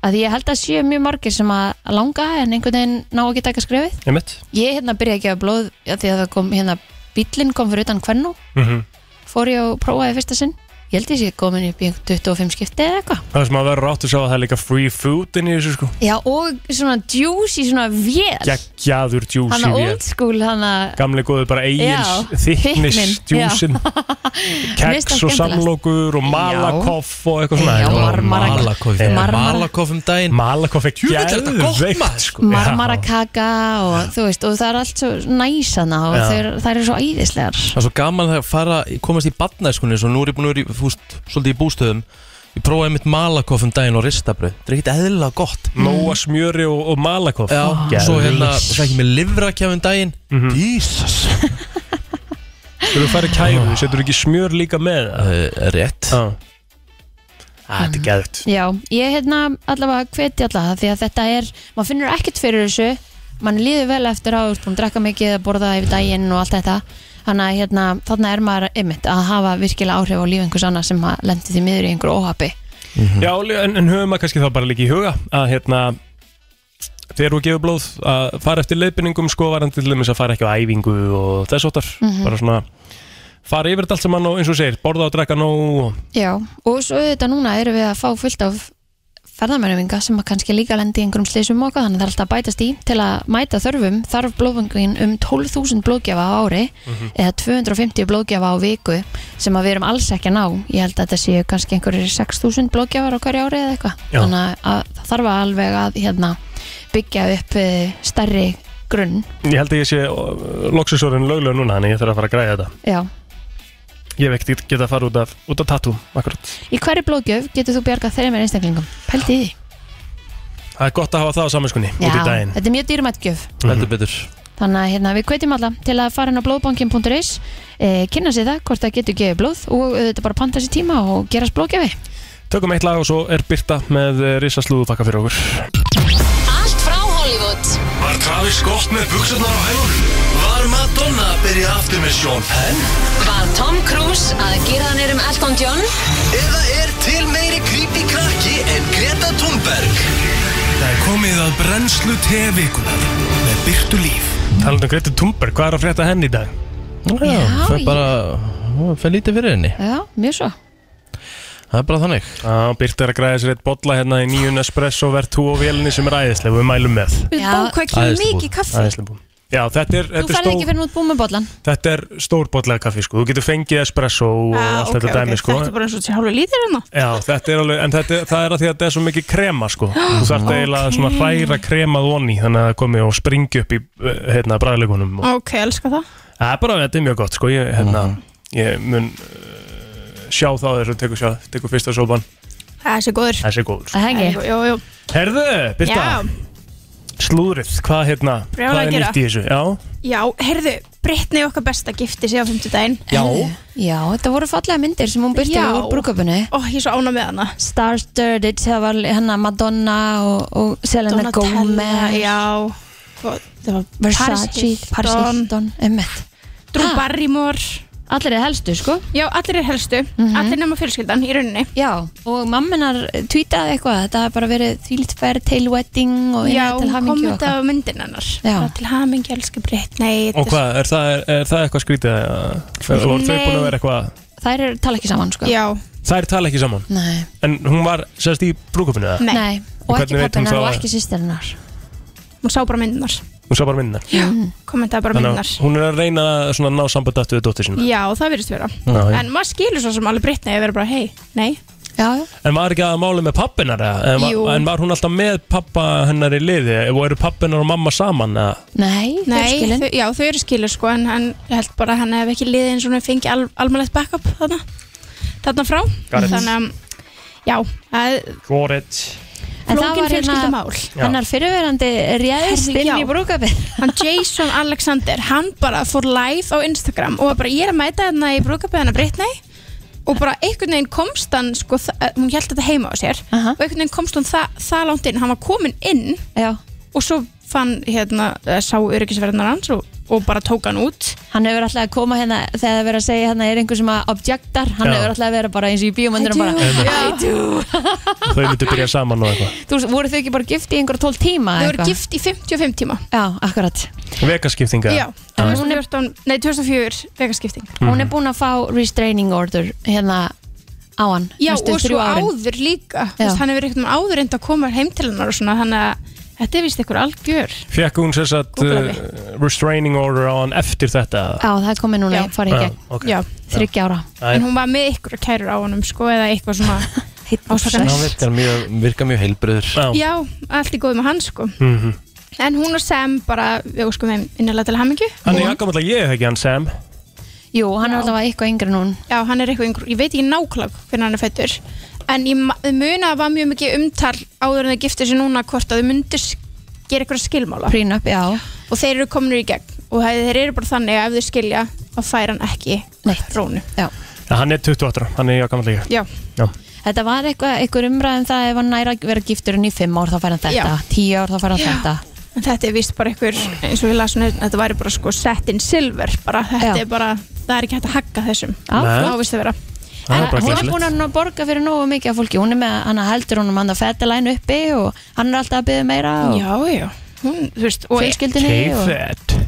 að ég held að séu mjög margir sem að langa en einhvern veginn ná ekki að taka skrefið þetta Einmitt Ég hérna byrjaði að gefa blóð að því að það kom hérna bíllinn kom fyrir utan hvernú Mhm. fór ég og prófaði fyrsta sinn ég held ég sé komin upp í einhver 25 skipti eða eitthvað Það sem að vera rátt að sjá að það er líka free food inn í þessu sko Já og svona juicy svona vél Gekkjaður Hanna juicy eh, old school hana Gamli góðu bara Já, eigils Þykknis þykknin, já. juicin Mér finnst það Keks og skemmtilegt. samlokur Og malakoff og eitthvað svona Já, Þetta var- marmara- Malakoff Eh, marmara- Malakoff um daginn Eh, Malakoff er Jú, þetta er þetta gott, maður. geðveikt sko marmara Já. kaka og þú veist og það er allt svo næsana og Já. þeir, það eru svo æðislegar Það er svo gaman að fara, komast í badnæskunni Svo nú er ég búin að vera í, fúst, svolítið í bústöðum Ég prófaði mitt malakoff um daginn og ristabröð Þetta er ekkert eðlilega gott Nóa smjöri og, og malakoff Já, svo hérna, Geðveikt. það ekki með livrakjafum um daginn Jesus Þegar þú færi kæru, setur ekki smjör líka með það? uh, Rétt Já. Æ, Ah, Þetta er geðveikt Já, ég hérna allavega hveti allavega því að þetta er, maður finnur ekkert fyrir þessu mann líður vel eftir að þú ert búin að drekka mikið að borða yfir daginn og allt þetta þannig að hérna, þarna er maður ymmit að hafa virkilega áhrif á líf einhvers annars sem að lendi því miður í einhverju óhafi Já, en, en höfum að kannski þá bara líka í huga að hérna þegar þú gefur blóð að fara eftir leiðbyningum sko var hann til dæmis að fara ekki á æfingu og þess óttar, bara svona fara yfir þetta allt saman og eins og þú segir borða og drekka nóg og Já, og svo þetta núna erum við að fá fullt af ferðamennum sem að kannski líka lendi í einhverjum slísum og okkar þannig að það er alltaf að bætast í til að mæta þörfum þarf blóðvöngin um 12.000 blóðgjafa á ári Mhm. eða 250 blóðgjafa á viku sem að við erum alls ekki að ná ég held að þetta séu kannski einhverjir 6.000 blóðgjafar á hverju ári eða eitthvað Já. þannig að það þarf að alveg að hérna, byggja upp eh, stærri grunn ég held að ég sé loksinsorinn löglega núna þannig að ég þarf að fara að græja þetta Já. ég hef ekkert geta að fara út af, út af tattoo akkurat. Í hverju blóðgjöf getur þú bjargað þreymir einstaklingum? Pældi því það er gott að hafa það á saminskunni út í Já, daginn þetta er mjög dýrmætt gjöf heldur betur Þannig að hérna, við hvetjum alla til að fara inn á blóðbankin.is e, kynna sér það hvort það getur gefið blóð og þetta bara panta sér tíma og gerast blóðgefi tökum eitt lag og svo er Birta með risa slúðupakka fyrir okkur Allt frá Hollywood Var Travis gott með buksunar á hælunum? Var Madonna að byrja aftur með Sean Penn? Var Tom Cruise að gera hann erum Elton John Eða er til meiri creepy krakki en Greta Thunberg? Það er komið að brennslu tevikunar með Byrtu Líf. talandum Greta Thunberg, hvað er að frétta henni í dag? Já, Já, það ég- er bara, það er lítið fyrir henni Já, mjög svo Það er bara þannig Já, Birta er að græða sér eitt bolla hérna í nýjun espresso vertu og vélinni sem er æðislega við mælum með Já. Bá, hvað kemur Æðislega mikið búið. kaffi? æðislega búin Já, þetta er, Þú þetta, ferð er ekki stór, fyrir nút búið með bollan þetta er stór bolla af kaffi sko. Þú getur fengið espresso og Ah, allt ok, þetta dæmi ok, sko. Þetta er bara eins og þessi hálfu lítir hérna Já, þetta er alveg, en þetta, er- það er að því að þetta er svo mikið krema sko Þú þarf eiginlega svona að hræra kremað onni Þannig að það komi og springi upp í eh, hérna bræðleikunum og- Ok, elska það Það er bara, þetta er mjög gott sko Ég, hérna, ég mun uh, sjá þá þess að tekur, sjá- tekur fyrsta sopan Það er sér góður Þessi er góður sko. Það hengi Jú, jú, Herðu, Birta, já, slúðrið, hvað hérna, Brjálæði hvað er gera. nýtt í þessu? Já, já, heyrðu, Brittany okkar besta gifti sig á 50 daginn já, Já, þetta voru fallega myndir sem hún byrti Já. úr brúköpunni Ó, ég er svo ána með hana Star-studded, það var hennar Madonna og, og Selena Donatella, Gomez já Sko, Hvað- Það var Paris Versace, Paris Hilton, Hilton Emmett Drew Ha. Barrymore Allir er helstu, sko Já, allir er helstu, Mhm. allir nema fjölskyldan í rauninni Já, og mamminar tweetaði eitthvað þetta hafi bara verið þvílitt fair tail wedding og Já, innilega til hún hamingju kom og þetta eitthvað á myndin hennar Já. Bara Til hamingi, elsku Brittany og hvað, er það, er, er það eitthvað skrítið? Þú voru þau Nei. búin að vera eitthvað Þær eru tala ekki saman, sko Já, Þær tala ekki saman, Nei, en hún var sérst í brúkupinu það? nei, nei Og og hvernig ekki veit hún pappinar það? og ekki sýstirinnar hún sá bara myndinar Hún sá bara minna Já, kommentaði bara Þannig að myndinar hún er að reyna að svona ná sambandi aftur við dóttir sína Já, það verðist vera Já, já. En maður skilur svo sem alveg Brittany að vera bara, hei, nei Já, já. En var ekki að máli með pappinar eða? En, Jú. var- en var hún alltaf með pappa hennar í liði og eru pappinar og mamma saman eða? nei, Nei, fjölskylin þau, já, þau eru skilur sko en hann ég held bara að hann hef ekki liðið eins og hann fengi al, almennlegt backup þarna, þarna frá Got it. þannig að já, að Górit En það flókin var hérna fjölskyldumál hennar fyrirverandi réðst Herri, inn í já. brúkabið hann Jason Alexander, hann bara fór live á Instagram og var bara ég er að mæta hérna í brúkabæð hennar Brittany og bara einhvern veginn komst hann sko, þa- eh, hún held þetta heima á sér Aha. og einhvern veginn komst hann það, það langt inn hann var komin inn Já, og svo fann hérna, eh, sá öryggisverðnar hans og, og bara tók hann út hann hefur alltaf að koma hérna þegar það verið að segja hérna er einhver sem að objektar hann Já. hefur alltaf að vera bara eins og í bíómyndir bara, Já. Þau myndu byrja saman og eitthvað þú veist, voru þau ekki bara gift í einhver 12 tíma? þau eða voru eitthvað? gift í 55 tíma Já, akkurat Vegaskiptinga Já, Já. 2014, nei 2004 vegaskipting Mhm. hún er búin að fá restraining order hérna á hann Já næstu og þrjú svo árin. áður líka Þú veist, Já. hann hefur einhvern veginn áður enda að koma heim til hennar og svona þannig að þetta er vist einhver algjör Fekk hún sérst að Googlaði. uh, restraining order á hann eftir þetta Ah, Já, það er komið núna, Já. ég farið í gegn ok Já, Þryggja ára Æ, en hún var með ykkur kærur á honum sko eða eitthvað svona Já, ásakanir virkar mjög, virkar mjög heilbröður Já, Já, allt í góð með hann sko Mhm. En hún og Sam bara, við óskum þeim innilega til hamingju Hann er jakkamall að ég ekki hann Sam Jú, hann er alltaf eitthvað yngri núna Já, hann er eitthvað yngur, ég veit ekki nákvæmlega hvernig hann er fættur en ég ma- muna að það var mjög mikið umtal áður en þau giftu sér núna hvort að þau myndir s- gera eitthvað skilmála Prínup, já, og þeir eru kominir í gegn og það- þeir eru bara þannig að ef þau skilja þá fær hann ekki Neitt. rónu já Já, hann er 28, hann er jakkamall að ég Já, Já, Þetta um var eitthvað, eitthvað umræðum það ef hann næra að vera giftur en í fimm ár þá fær hann þetta, Já. tíu ár þá fær hann Já. þetta En þetta er vist bara einhver, eins og við lasum þetta væri bara sko set in silver bara, þetta Já. er bara, það er ekki hægt að hagga þessum Já, Nei. þá vist að vera Það er bara hún er glæsilegt. búin að ná- borga fyrir nógu mikið af fólki hún er með, hann heldur hún um hann að fetalæn uppi og hann er alltaf að byggja meira og Já, já, hún, þú veist og, fjölskyldinni og K-Fed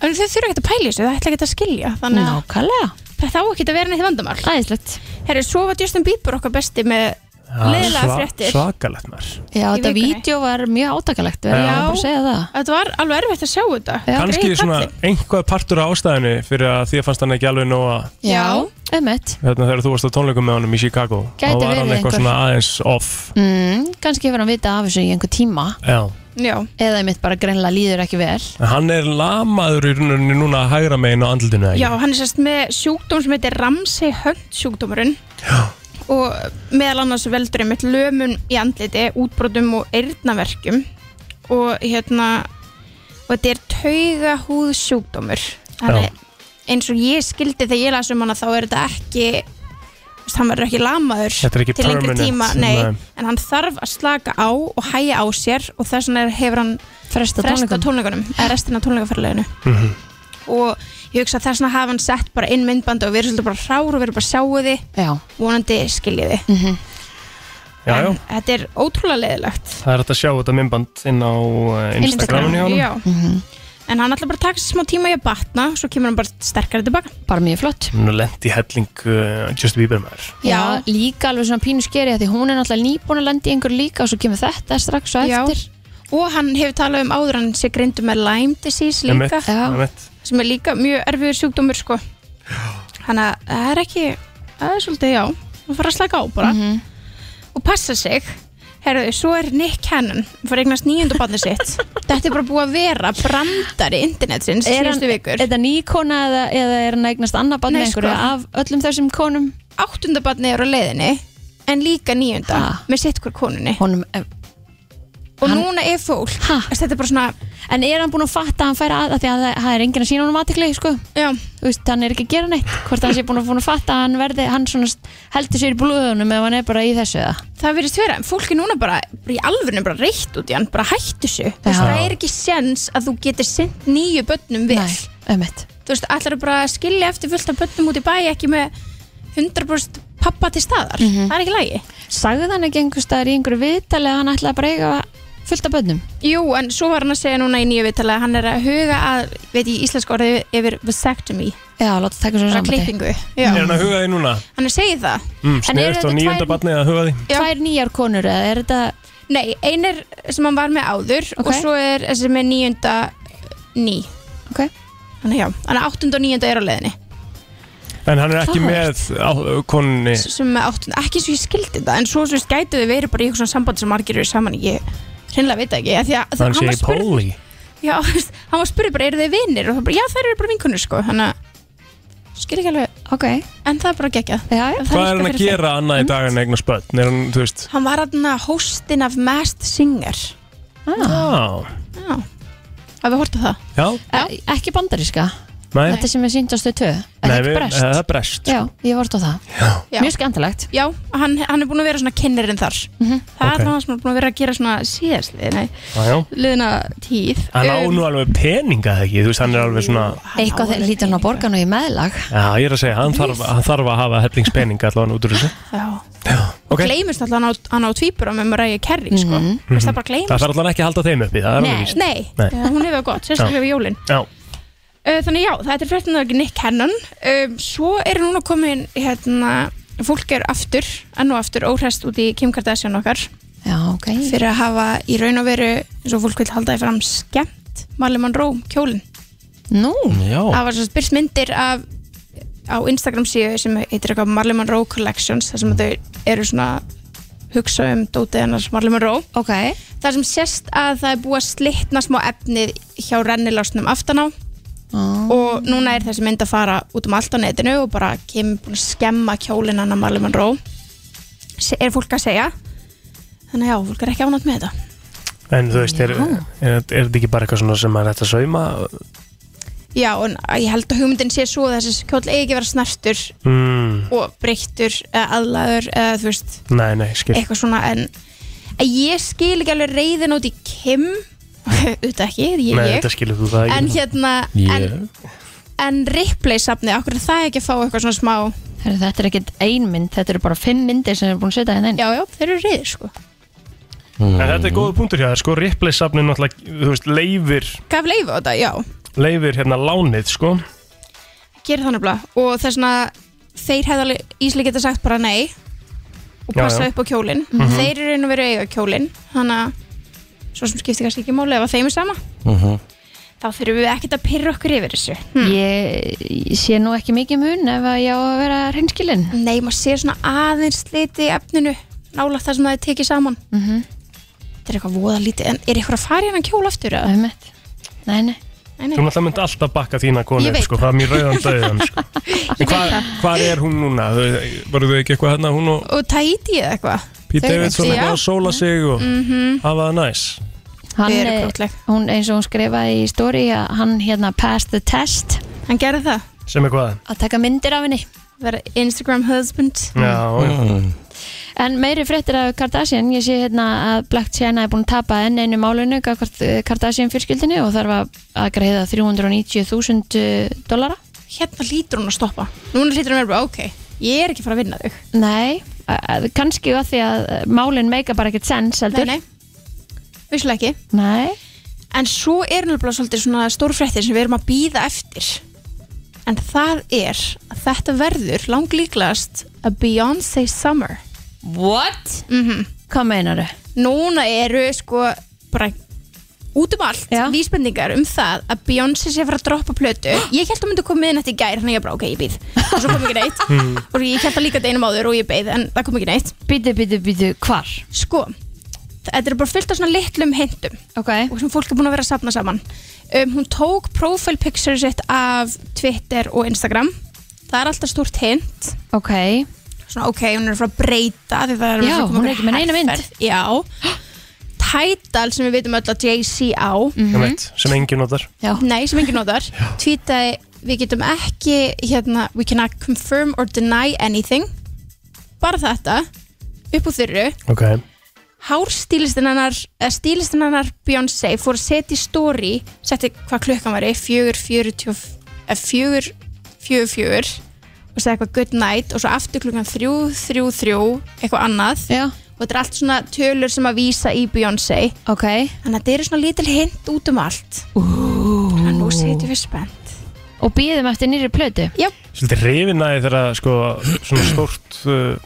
en þau þurfa ekki að pæla í þessu, það ætla ekki að skilja þannig að nákvæmlega, það þá ekki að vera neitt vandamál æðislegt Herri, svo var Justin Bieber okkar besti með leðilega fréttir Svakalegt maður Já, Í þetta vikunni. vídeo var mjög átakalegt við erum Já. bara að segja það Þetta var alveg erfitt að sjá þetta Já. Kanski Greyið svona kallinn. einhvað partur á ástæðinu fyrir að því að fannst hann ekki alveg nóg að Já, einmitt hérna, þegar þú varst á tónleikum með honum í Chicago Gæti þá var hann verið eitthvað einhver. svona aðeins off mm, Kanski hefur hann vitað af þessu í einhver tíma Já. Já, eða einmitt bara greinlega líður ekki vel En hann er lamaður í rauninni núna að hægra megin á andlutinu Já, hann er sérst með sjúkdóm sem heitir Ramsey Hunt sjúkdómurinn og meðal annars veldur einmitt lömun í andliti, útbrotum og eyrnaverkjum og hérna og þetta er tauga húð sjúkdómur Já. eins og ég skildi þegar ég las um hana þá er þetta ekki þú veist, hann verður ekki lamaður Þetta er ekki til lengri permanent, tíma nei, nei. en hann þarf að slaka á og hæja á sér og þess vegna er- hefur hann Fresta fresta tónleikum tónleikunum, eða restina tónleikaferleginu Mhm. og ég hugsa að þess vegna hafa hann sett bara inn myndbandi og við erum svolítið bara hrár og við erum bara sjáu þið, Já, vonandi skiljið þið Mhm. já, já. en þetta er ótrúlega leðilegt Það er hægt að sjá þetta myndband inn á eh, Instagraminu hjá hann já Mhm. en hann ætla bara að taka sér smá tíma í að batna svo kemur hann bara sterkari tilbaka bara mjög flott Nú lendi helling uh, Justin Bieber maður Já, líka alveg svona pínu skeri af því hún er náttúrulega nýbúin að lenda í einhverju líka og svo kemur þetta strax og Já. eftir og hann hefur talað um áður að hann sé grindu með Lyme disease líka Einmitt, Já. einmitt. sem er líka mjög erfiður sjúkdómur sko hann að það er ekki það er svolítið já, hann fara að slaka á bara Mhm. og passa sig herruðu, svo er Nick Cannon fór eignast nýjöndu barni sitt þetta er bara búið að vera brandari internetsins Er hann- síðustu vikur Er það ný kona eða, eða er hann að eignast annað barn Nei, með einhverju sko. af öllum þessum konum? áttunda barni er á leiðinni en líka nýjönda Ha? með sitt hver konunni Honum, eh, og hann- núna er fólk Ha? þetta er bara svona en er hann búin að fatta að hann færa að, að því að það- það er enginn að sína honum aðtekli, sko? já, Þú veist, hann er ekki að gera neitt. Hvort hann sé búin að, búin að fatta að hann verði, hann svona st- heldur sér í blóðunum ef hann er bara í þessu eða? það verðist vera en fólk er núna bara bara í alvörinu bara reytt út í hann bara hættu þessu Þú veist, Já. það er ekki sens að þú getur sendt nýju börnum vel Nei, ömmit. þú veist, allar bara að skilja eftir fullt af börnum út í bæ ekki með 100% pappa til staðar, Mhm. það er ekki lægi Sagði hann ekki einhver staðar í einhverju viðtali að hann ætlaði bara að eiga fullt af bönnum? Jú, en svo var hann að segja núna í nýju viðtali að hann er að huga að, veit ég, íslensk orðið yfir vasectomy, Já, láta taka svona bara sambandi. klippingu Já, Er hann að huga því núna? hann er að segja það Mm, En eru Sniðist á þetta nýjönda tvær- barni að huga því? Já. Tvær nýjar konur eða er þetta... Nei, ein er sem hann var með áður Ok. og svo er þessi með nýjunda ný Ok. Þannig já, hann er áttunda og nýjunda er á leiðinni En hann er ekki með á, konunni sem með áttunda, ekki svo ég skildi það en svo svo gæti þau verið bara í eitthvað svona sambandi sem margir eru saman, ég hreinlega veit það ekki af því að, Hann sé var í spurður- Póli Já, þú veist, hann var spurði bara, eru þið vinnir? Og það bara, já, þær eru bara vinkunir, sko Þannig að, skil ekki alveg Ok, En það er bara geggjað já, já. En það Hvað er líka hann að fyrir gera annað í dag en eignar spöld? Er hann, þú veist þeim. Hann var hann að hóstin af Masked Singer Ah. Já, Já Að við hortum það já, E- Ekki bandaríska, nei, þetta sem er sínt á stöð 2 Er það nei ekki við, eh, brest? það er brest Já, ég vort á það Já. Mjög skemmtilegt Já, hann, hann er búin að vera svona kynnerinn þar Það Ok. er það sem hann er búin að vera að gera svona síðasli Nei, Já, já. liðna tíð Hann á Um, nú alveg peninga þegar ekki, þú veist, hann er alveg svona hann á Eitthvað þegar alveg lítur hann á peninga. borgarnu í meðlag Já, ég er að segja, hann þarf, hann þarf að hafa hellingspeninga allavega út úr þessu Já Ok. Gleimist alltaf hann á, hann á tvíbura með Mariah Carey, sko Þú veist, Það bara Það gleimist þarf allavega ekki að halda þeim uppi, það er alveg Nei. víst Nei, Nei. hún hefur það gott, sérstaklega við jólin Já, Uh, Þannig já, þetta er fréttin að Nick Cannon um, Svo eru núna komin hérna, fólk er aftur enn og aftur óhrest út í Kim Kardashian okkar Já, ok fyrir að hafa í raun og veru eins og fólk vil halda því fram skemmt Marley Monroe, um kjólin Nú, já, Það var svo spyrst myndir af á Instagram síðu sem heitir eitthvað Marley Monroe Collections þar sem þau eru svona að hugsa um dótið hennar Marley Monroe ok þar sem sérst að það er búið að slitna smá efnið hjá rennilásnum aftan á Ah. og núna er þessi mynd að fara út um allt á netinu og bara kemur búin að skemma kjólinn hann að Marley Monroe Se- er fólk að segja þannig að já, fólk er ekki ánætt með þetta en þú veist, er, er, er þetta ekki bara eitthvað svona sem maður ætti að sauma? já, en ég held að hugmyndin sé svo að þessi kjól eigi ekki að vera snertur Mm, og breyttur eða aðlaður eða þú veist, nei, nei, skil eitthvað svona en en ég skil ekki alveg reyðin út í Kim auðvitað ekki, ég, Nei, ég. þetta skilur þú það ekki en hérna en, en replay safni, okkur er það ekki að fá eitthvað svona smá Herru, þetta er ekkert ein mynd, þetta eru bara fimm myndir sem er búin að setja hérna inn já, já, þeir eru reyðir sko En þetta er góður punktur hjá þér, sko, Ripley-safnin náttúrulega, þú veist, leifir, gaf leifu á þetta, já, leifir hérna lánið, sko. gerir þannig blá og þess vegna þeir hefði alveg ísli geta sagt bara nei og Já, passa já. Mhm. upp á kjólin þeir eru einu verið eiga kjólin þannig að svo sem skiptir kannski ekki máli ef að þeim er sama Mhm. þá þurfum við ekkert að pyrra okkur yfir þessu Hmm. ég, ég sé nú ekki mikið mun ef að ég á að vera hreinskilin Nei, maður sér svona aðeins liti í efninu nála það sem það er tekið saman Mhm. Þetta er eitthvað voða lítið en er eitthvað að fara hérna kjól aftur? eða? Það er mitt Nei, nei Nei, nei. Þú náttúrulega myndi alltaf bakka þína konu, Ég veit sko, fram í rauðan döðan, sko. En hvað hvar er hún núna? Þau- Voru þau ekki eitthvað hérna, hún og Og Tahiti eða eitthvað Pete Þau eru Davidson ekki- eitthvað Já. Mhm. að sóla sig og hafa það næs? Hann, Þau eru eh, krúttleg. hún, eins og hún skrifaði í stóri að hann hérna passed the test Hann gerði það Sem er hvað? að taka myndir af henni Verða Instagram husband Já, já. Mm. En meiri fréttir af Kardashian, ég sé hérna að Black China er búin að tapa enn einu málinu gagvart Kardashian fyrskildinni og þarf að- að greiða 390.000 eh, dollara. Hérna hlýtur hún að stoppa Núna hlýtur hún að vera bara, ok Ég er ekki að fara að vinna þau Nei, að- að- kannski að því að eh, málin meika bara ekkert sens heldur. Nei, nei Vissulega ekki Nei. En svo er náttúrulega svolítið svona stórfréttir sem við erum að býða eftir En það er að þetta verður langlíklast a Beyoncé summer What? Hvað meinaru? núna eru sko bara út um allt Já. vísbendingar um það að Beyoncé sé að fara að droppa plötu ég held að myndi koma miðnætt í gær þannig að ég bara ok, ég býð og svo kom ekki neitt og ég held að líka deinum áður og ég beið en það kom ekki neitt Bítu, bítu, bítu, hvar? sko, þetta er bara fullt af svona litlum hintum Ok. og sem fólk er búin að vera að sapna saman um, hún tók profile picture sitt af Twitter og Instagram það er alltaf stórt hint Ok. svona ok, hún er frá að breyta því það er Já, að koma hún er ekki með neina mynd. herferð. já Tidal sem við veitum öll að Jay-Z á Mm. Ég veit, sem engin notar. Já. nei, sem enginn notar tweetaði, við getum ekki hérna, we cannot confirm or deny anything bara þetta upp úr þurru Ok. hárstílistinn hennar eða stílistinn hennar Beyoncé fór að setja í story setti hvað klukkan var í 4.40 eða 4.44 og segja eitthvað good night og svo aftur klukkan 3.33 eitthvað annað Já. og þetta er allt svona tölur sem að vísa í Beyoncé Ok. þannig að þetta eru svona lítil hint út um allt þannig að nú setjum við spennt Og býðum eftir nýri plötu. Svolítið reyfinæði þegar, sko, svona stórt... Uh,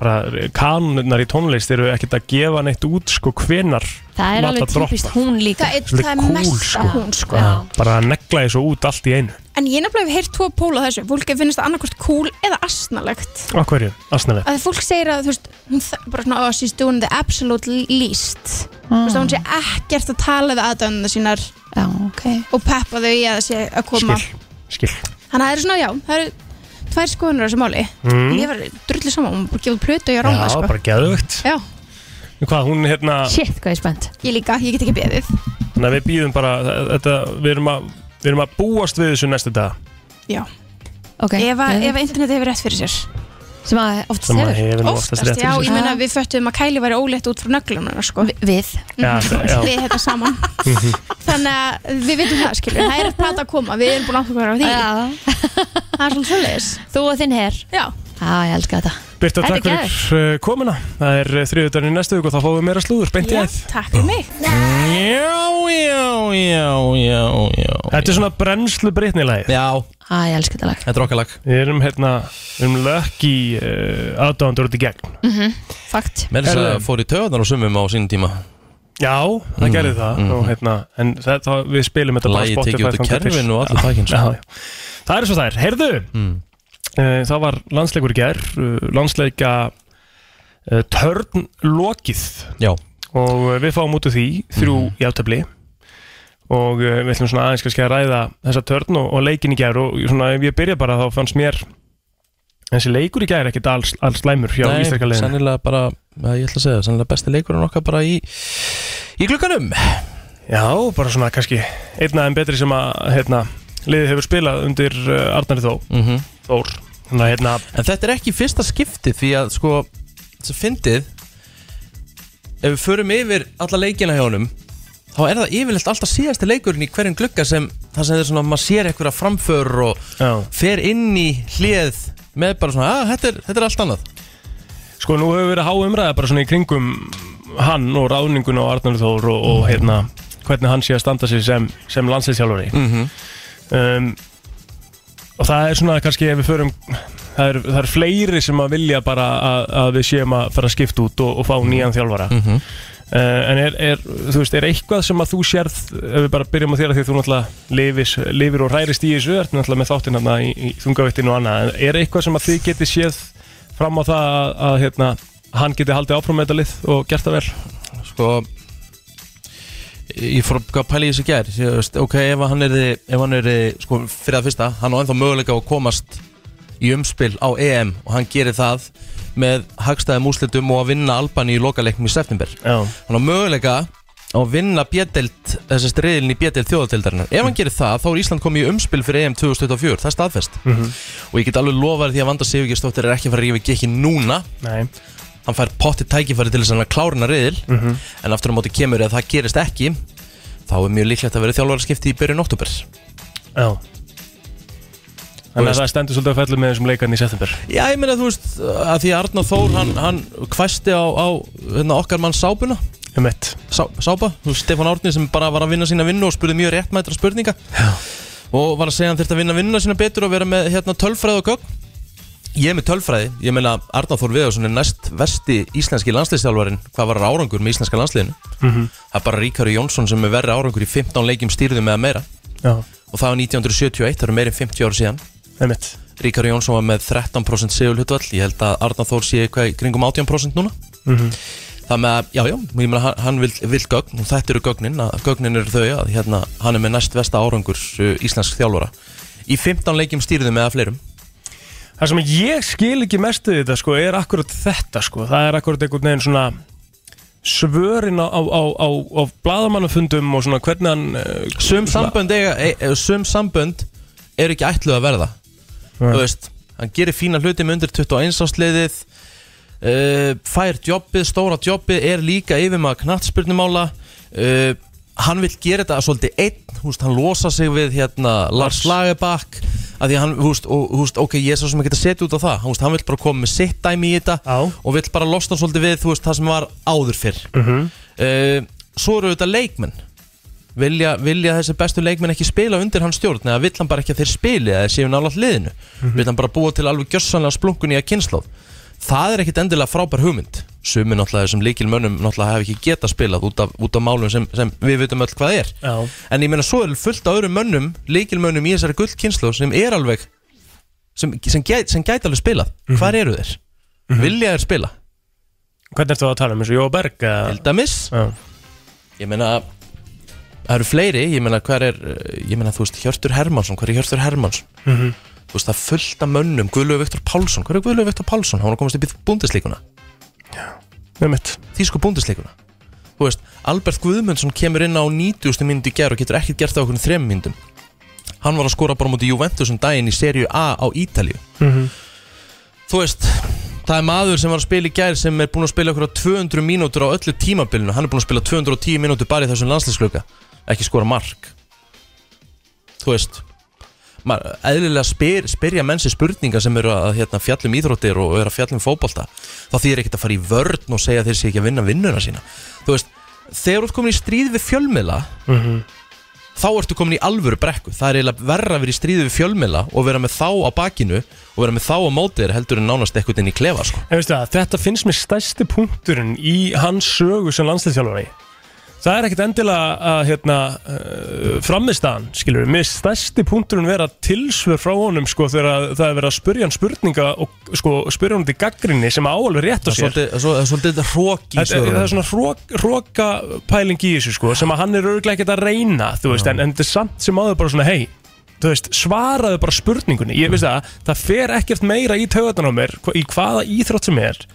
bara kanunnar í tónlist eru ekkert að gefa neitt út sko hvenar Það er Láta alveg droppa. typist hún líka. það er, Svolítið það er cool, mest sko. hún sko Já, sko. bara að negla þessu út allt í einu en ég nefnilega hef heyrt tvo póla þessu fólki finnst það annarkvort cool eða asnalegt á hverju, aðsnæðið að því fólk segir að þú veist hún þ- bara svona, oh, she's doing the absolute least þú Ah. veist að hún sé ekkert að tala við aðdönda sínar Já, ok. og peppa þau í að það sé að koma skil, skil þannig að það eru svona, já, það eru tvær skoðunur á þessu máli mm. ég var drullið saman, hún bara gefur plötu og ég ráma, Hmm? Já, sko bara geðvögt já, Hvað, hún hérna, Shit, hvað ég er spennt. ég líka, ég get ekki beðið þannig að við býðum bara þetta, við erum að Við erum að búast við þessu næstu dag já, Ok. ef, að, Geðveikt. ef að internetið hefur rétt fyrir sér Sem að oftast sem að hefur. hefur nú oftast oftast, rétt já, fyrir ég sér. meina við föttum að Kæli væri ólétt út frá nöglunum sko. Við. Já, já, við þetta saman þannig að við vitum það, skilur, það er að plata að koma við erum búin að ákveða á því, Já. það er svolítið svolítið Þú og þinn herr. Já, Já, ég elska þetta. Birta, Þetta er takk fyrir uh, komuna Það er þriðutarinn í næstu vik og þá fáum við meira slúður Beint í já, æð takk fyrir mig Já, já, já, já, já Þetta er svona brennslu breytnilæð Já, Já, ég elska þetta lag. þetta er okkar lag Við erum hérna, við erum lökki uh, aðdáðandur út í gegn Fakt. Mér er Herðu. það fór í töðanar og sumum á sínum tíma Já, það gerði það og, hérna, En þetta, við spilum þetta bara á Lægi Spotify tekið út í þangað til. kerfinu og allir sko. Mm. takin já, já. Það er svo það er, heyrðu Eh, Það var landsleikur í gær eh, Landsleika uh, Törn lokið Já, Og eh, við fáum út af því Þrjú mm. játtöfli Og uh, við ætlum svona aðeins kannski að ræða Þessa törn og, og leikin í gær Og svona ef ég byrja bara þá fannst mér Þessi leikur í gær ekkit alls, alls slæmur Hjá Nei, íslenska leiðinu sennilega bara, eh, ég ætla að segja, sennilega besti leikurinn okkar bara í, í glukkanum Já, bara svona kannski Einna en betri sem að hérna, Liðið hefur spilað undir uh, Arnari Þó Mhm. Þór Þannig að hérna, En þetta er ekki fyrsta skipti því að sko, þess að fyndið ef við förum yfir alla leikina hjá honum þá þá er það yfirleitt alltaf síðasti leikurinn í hverjum glugga sem það sem er svona, maður sér einhverja framför og fer inn í hlið með bara svona, að þetta er, þetta er allt annað Sko nú hefur verið há umræða bara svona í kringum hann og ráningun og Arnar Þór og, og hérna hvernig hann sé að standa sig sem, sem landsliðsjálfari Mhm. um, og það er svona kannski ef við förum það eru er fleiri sem að vilja bara að, að við séum að fara að skipta út og, og fá nýjan þjálfara Mhm. uh, en er, er, þú veist, er eitthvað sem að þú sérð ef við bara byrjum á þér að því að þú náttúrulega lifis, lifir og rærist í þessu ert náttúrulega með þáttinn þarna í, í þungavittinu og annað en er eitthvað sem að þið getið séð fram á það að, að hérna, hann geti haldið áfram með þetta lið og gert það vel sko ég fór að pæla í þessu gær ég, veist, ok, ef hann er, ef hann er sko, fyrir að fyrsta, hann á ennþá möguleika á að komast í umspil á EM og hann gerir það með hagstæðum úslitum og að vinna Albani í lokaleiknum í september Já. hann á möguleika á að vinna bjöldelt, þessi striðilin í bjöldelt þjóðatildarinnar ef hann gerir það, þá er Ísland komið í umspil fyrir EM 2024, það er staðfest Mhm. og ég get alveg lofað því að Vanda Sigurgestóttir er ekki að fara að rífa ekki núna Nei. hann fær potti tækifæri til þess að hann klárna riðil Mhm. en aftur á móti kemur ef það gerist ekki þá er mjög líklegt að vera þjálfarskipti í byrjun oktober Já Þannig að veist- það stendur svolítið að fellu með þessum leikarni í september Já, ég meina þú veist að því að Arnar Þór hann, hann kvæsti á, á hérna, okkar mann Sábuna um eitt Sá, Sába, þú veist, Stefán Árni sem bara var að vinna sína vinnu og spurði mjög réttmættra spurninga Já. og var að segja að hann þurfti að vinna vinnuna sína betur og vera með hérna, tölfræði og gögn Ég er með tölfræði, ég meina Arnar Þór Viðarsson er næst versti íslenski landsliðstjálfarin hvað var árangur með íslenska landsliðinu Mhm. Það er bara Ríkari Jónsson sem er verri árangur í 15 leikjum stýrðum eða meira Já. og það var 1971, það eru meira en 50 ára síðan Einmitt. Ríkari Jónsson var með 13% segulhutvall ég held að Arnar Þór sé eitthvað í kringum 18% núna Mhm. það með að, já, já, ég meina hann, hann vil, vil gögn og þetta eru gögnin, að, gögnin eru þau að hérna, hann er með næst vesta árangur uh, íslensk þjálfara í 15 leikjum stýrðum eða fleirum Það sem ég skil ekki mest við þetta sko, er akkurat þetta sko. það er akkurat einhvern veginn svona svörin á, á, á, á, á bladamannafundum og svona hvernig hann eh, sum svona- sambönd, eiga, e, e, sum sambönd er ekki ætluð að verða þú veist, hann gerir fína hluti með undir 21 ásliðið uh, fær jobbið, stóra jobbið er líka yfir maður knattspyrnumála uh, hann vil gera þetta svolítið einn, húst, hann losa sig við hérna, Lars Lagerbakk að því að hann, húst, og, húst, ok, ég er svo sem ekki að setja út á það, húst, hann vil bara koma með sitt dæmi í þetta Já. og vil bara losna svolítið við, þú veist, það sem var áður fyrr Mhm. Eh, svo eru þetta leikmenn vilja, vilja þessi bestu leikmenn ekki spila undir hans stjórn eða vill hann bara ekki að þeir spili eða þeir séu nálaðt liðinu vill hann bara búa til alveg gjössanlega splunkun í að kynnslóð það er ekkit endilega frábær hugmynd sumi náttúrulega þessum líkil mönnum náttúrulega hef ekki getað spilað út af, út af málum sem, sem við vitum öll hvað er Já. en ég meina svo eru fullt af öðrum mönnum líkil mönnum í þessari gullkynnslóð sem er alveg sem, sem, gæt, sem gæti alveg spilað hvar eru þeir? vilja þeir spila? Hvernig ertu að tala um eins og Jóa Berg? Til dæmis Já. Ég meina Það eru fleiri, ég meina hver er eh, Ég meina þú veist Hjörtur Hermansson, hver er Hjörtur Hermansson Mhm. Þú veist það er fullt af mönnum Guðlöf Viktor Pálsson, hver er Guðlöf Viktor Pálsson Hann var að komast upp í búndisleikuna um Þísku búndisleikuna Þú veist, Albert Guðmundsson kemur inn á 90. myndi í gær og getur ekkert gert á okkur þrem myndum Hann var að skora bara múti Juventus um daginn í serju A á Ítalíu þú veist það er maður sem var að spila í gær sem er búin að spila okkur á 200 mínútur á öllu tímabilinu hann er búin að spila 210 mínútur bara í þessum landslíksluka ekki skora mark þú veist maður eðlilega spyr, spyrja mennsi spurninga sem eru að hérna, fjallum íþróttir og eru að fjallum fótbolta þá þýðir ekkert að fara í vörn og segja að þeir sé ekki að vinna vinnuna sína þú veist, þegar þú ert komin í stríð við fjölmiðla Mhm. þá ertu komin í alvöru brekku það er eiginlega verra að vera í stríðu við fjölmila og vera með þá á bakinu og vera með þá á mótið þér heldur en nánast eitthvað inn í klefa sko. En veistu það, þetta finnst mér stærsti punkturinn í hans sögu sem landsliðsjálfari Það er ekkert endilega að hérna, uh, frammistaðan, skilur við, mér finnst stærsti punkturinn vera tilsvör frá honum sko þegar að það er verið að spurja hann spurninga og sko, spurja hann til gaggrinni sem á alveg rétt það á er sér svolítið, það er svo- það er svolítið hrók í Þetta er, það er sögur svona hrók, hróka pæling í þessu sko sem að hann er örglega ekkert að reyna þú veist, en, en þetta er samt sem áður bara svona hei, þú veist, svaraðu bara spurningunni ég veist það, það fer ekkert meira í taugarnar á mér hva- í hvaða íþrótt sem er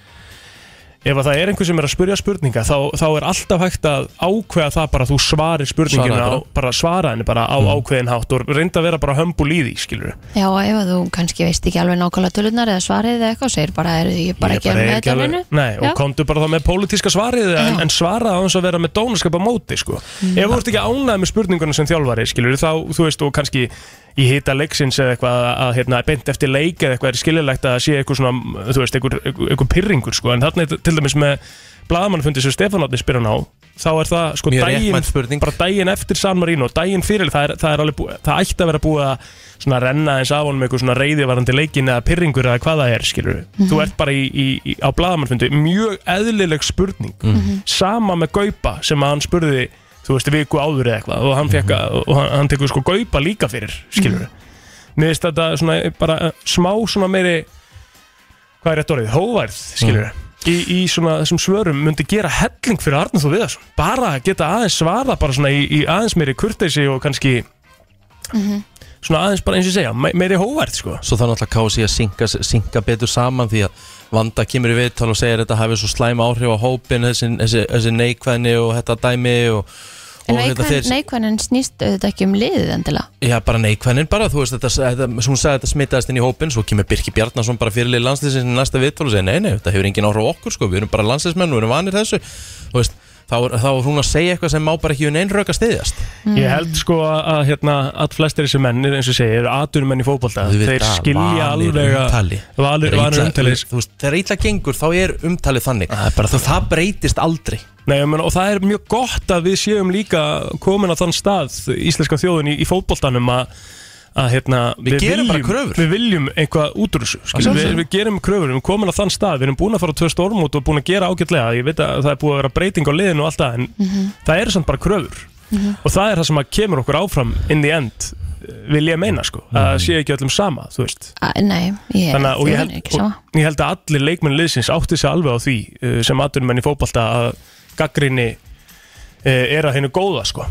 ef að það er einhver sem er að spurja spurninga þá, þá er alltaf hægt að ákveða það bara að þú svarir spurningina Svaraðu bara. bara. Mm. Á, bara svara henni bara á ákveðin hátt og reynda að vera bara hömbul í því skilur Já, ef að þú kannski veist ekki alveg nákvæmlega tölunar eða svarið eða eitthvað, segir bara, er ég er bara ekki að með þetta vinnu? Nei, og Já. komdu bara þá með pólitíska svarið Já. en, Mm. en svara á hans að vera með dónaskap á móti sko. ef þú ert ekki ánægð með spurninguna sem þjálfari skilur þá, þú veist, og kannski í hita leiksins eða eitthvað að, að hérna, beint eftir leik eða eitthvað er skiljulegt að sé eitthvað svona, þú veist, eitthvað, eitthvað, eitthvað pyrringur sko. en þarna er til dæmis með blaðamannfundi sem Stefán Átni spyr hann á þá er það sko Mjög réttmæt daginn, spurning. bara daginn eftir San Marino daginn fyrir, það, er, það, er alveg búið, það ætti að vera búið að svona renna eins af honum eitthvað svona reyðivarandi leikin eða pyrringur eða hvað það er skilur þú ert bara í, í, í, á blaðamannfundi mjög eðlileg spurning sama með Gaupa sem að hann spurði þú veist viku áður eða eitthvað og hann, fekk, mm og hann, hann tekur sko Gaupa líka fyrir skilur mér finnst þetta svona bara eh, smá svona meiri hvað er rétt orðið, hóværð, skilur í, í svona þessum svörum myndi gera helling fyrir Arnur Þór Viðarsson bara að geta aðeins svara bara svona í, í aðeins meiri kurteisi og kannski svona aðeins bara eins og ég segja me meiri hóværð sko Svo það er náttúrulega kási að synka, synka betur saman því að Vanda kemur í viðtal og segir að þetta hafi svo slæm áhrif á hópin þessi, þessi, þessi neikvæðni og þetta dæmi og, En og hérna neikvæðin, neikvæðin snýst auðvitað ekki um liðið endilega. Já, bara neikvæðnin bara, þú veist, þetta, þetta, sem hún sagði þetta smitaðist inn í hópin, svo kemur Birki Bjarnason bara fyrirlið landslýsins í næsta viðtál og segir, nei, nei, þetta hefur engin áhrif á okkur, sko, við erum bara landslýsmenn, við erum vanir þessu, þú veist, þá, er- þá er hún að segja eitthvað sem má bara ekki unn einröka stiðjast. ég held sko að að, hérna að flestir þessi mennir eins og ég segja eru aturmenn í fótbolta þeir skilja alveg að vanir, vanir umtali Þú veist, þegar ítla gengur, þá er umtalið þannig, bara, þú, það breytist aldrei. Nei, ég meina, og það er mjög gott að við séum líka komin á þann stað íslenska þjóðin í, í fótboltanum að, að hérna, Við gerum bara kröfur. við viljum eitthvað út úr þessu skilur, við, sjálfsögðu. við gerum kröfur, við erum komin á þann stað við erum búin að fara á tvö stormút og búin að gera ágætlega ég veit að það er búin að vera breyting á liðinu og allt það en það eru samt bara kröfur og það er það sem að kemur okkur áfram in the end vil ég meina sko að Mhm. sé ekki öllum sama, þú veist A, nei, ég, Þannig að og ég, þjóðin er held, ekki sama. og ég held að allir leikmenn liðsins átti sig alveg á því uh, sem aðdurmenn í fótbalta að gaggrinni uh, er að hennu góða sko.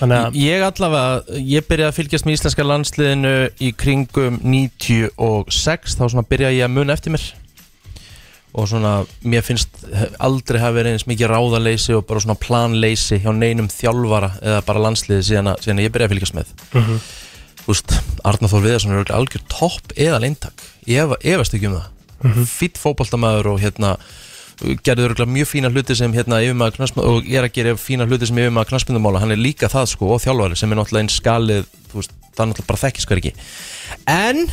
Þannig að Ég allavega, ég byrjaði að fylgjast með íslenska landsliðinu í kringum 96, þá svona byrjaði ég að muna eftir mér og svona, mér finnst aldrei hafa verið eins mikið ráðaleysi og bara svona planleysi hjá neinum þjálfara eða bara landsliði síðan að, síðan að ég byrjaði að fylgjast með Mhm. Þú veist, Arnar Þór Viðarsson er örugglega algjör topp eða leintak, ég efa- efast ekki um það mm Mhm. fýtt fótboltamaður og hérna gerði örgulega mjög fína hluti sem hérna yfirmaður knarsmynd og er að gera fína hluti sem yfirmaður knarsmyndumála, hann er líka það sko og þjálfari sem er náttúrulega einn skalið þú veist, það er náttúrulega bara þekkis hver ekki en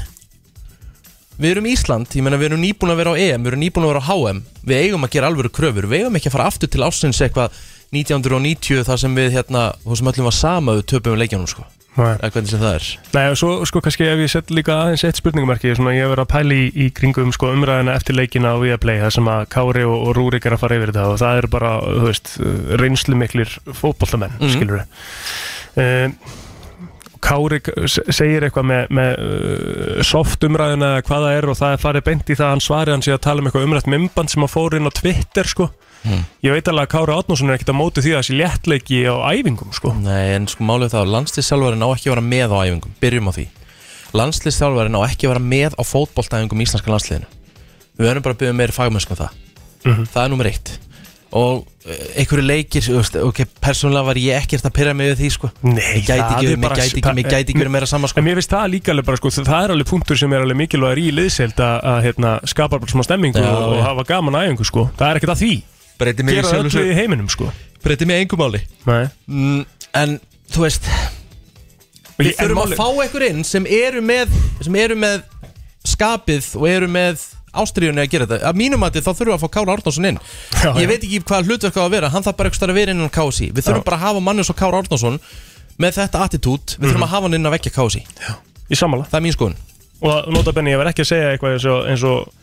við erum Ísland, ég meina við erum nýbúin að vera á EM við erum nýbúin að vera á HM, við eigum að gera alvöru kröfur, við eigum ekki að fara aftur til ásins eitthvað 1990 þar sem við hérna, þú sem öllum var sama við töpum leikjanum sko, Nei. eða hvernig sem það er Nei, og svo sko kannski ef ég sett líka aðeins eitt spurningumarki, svona ég hef verið að pæli í, í kringum sko umræðina eftir leikina á Viaplay það sem að Kári og, og Rúrik er að fara yfir þetta og það eru bara, þú veist, reynslu miklir fótboltamenn, Mhm. mm. skilur við Kári k- se- segir eitthvað með, með uh, soft umræðina eða hvað það er og það er farið beint í það að hann svarið hann sé að tala um eitthvað umrætt mymband sem að fór inn á Twitter sko Mhm. Ég veit alveg að Kári Átnússon er ekkert að móti því að þessi léttleiki á æfingum sko Nei, en sko málið er það að landsliðsjálfarinn á ekki að vera með á æfingum, byrjum á því Landsliðsjálfarinn á ekki að vera með á fótboltæfingum í íslenska landsliðinu Við verðum bara að byrja meiri fagmennsku um það Það er nummer eitt Og eh, einhverju leikir, þú veist, ok, persónulega var ég ekkert að pyrra mig við því, sko Nei, Ég gæti það ekki, er bara- mér gæti ekki, mér gæti ekki verið meira sama, sko En mér finnst það líka alveg bara sko, það er alveg punktur sem er alveg mikilvægur í liðseild að, að hérna, skapa bara smá stemmingu Já, og, já. og hafa gaman aðeins sko. Það er ekkert að því. Breyti mig, Gera öllu í heiminum sko. breyti mig engum máli Nei. mm, En, þú veist, við þurfum að fá einhver inn sem eru með, sem eru með skapið og eru með ástriðunni að gera þetta að mínum að þá þurfum við að fá Kára Árnason inn Já, já. ég veit ekki hvað hlutverk á að vera hann þarf bara eitthvað að vera innan KSI við þurfum Já. bara að hafa manni svo Kára Árnason með þetta attitút, Mhm. við þurfum að hafa hann inn að vekja KSI Í sammála. það er mín skoðun Og nota benni, ég verð ekki að segja eitthvað eins og, eins og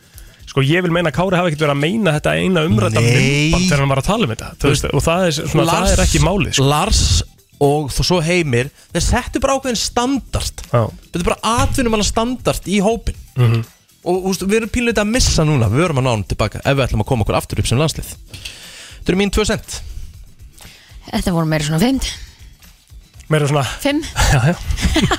sko, ég vil meina að Kári hafi ekkert verið að meina þetta eina umræta Nei. myndband þegar hann var að tala um þetta. Þú Veist, og það er, svona, það er ekki málið. Sko. Lars og þó svo Heimir þeir settu bara ákveðin standard Já. Mhm. þetta er bara atvinnum hann standard í hópin og þú veist, við erum pínleita að missa núna við verum að ná hann tilbaka ef við ætlum að koma okkur aftur upp sem landslið þetta eru mín 2 cent Þetta voru meira svona fimm. Meira svona, Fimm? já, já.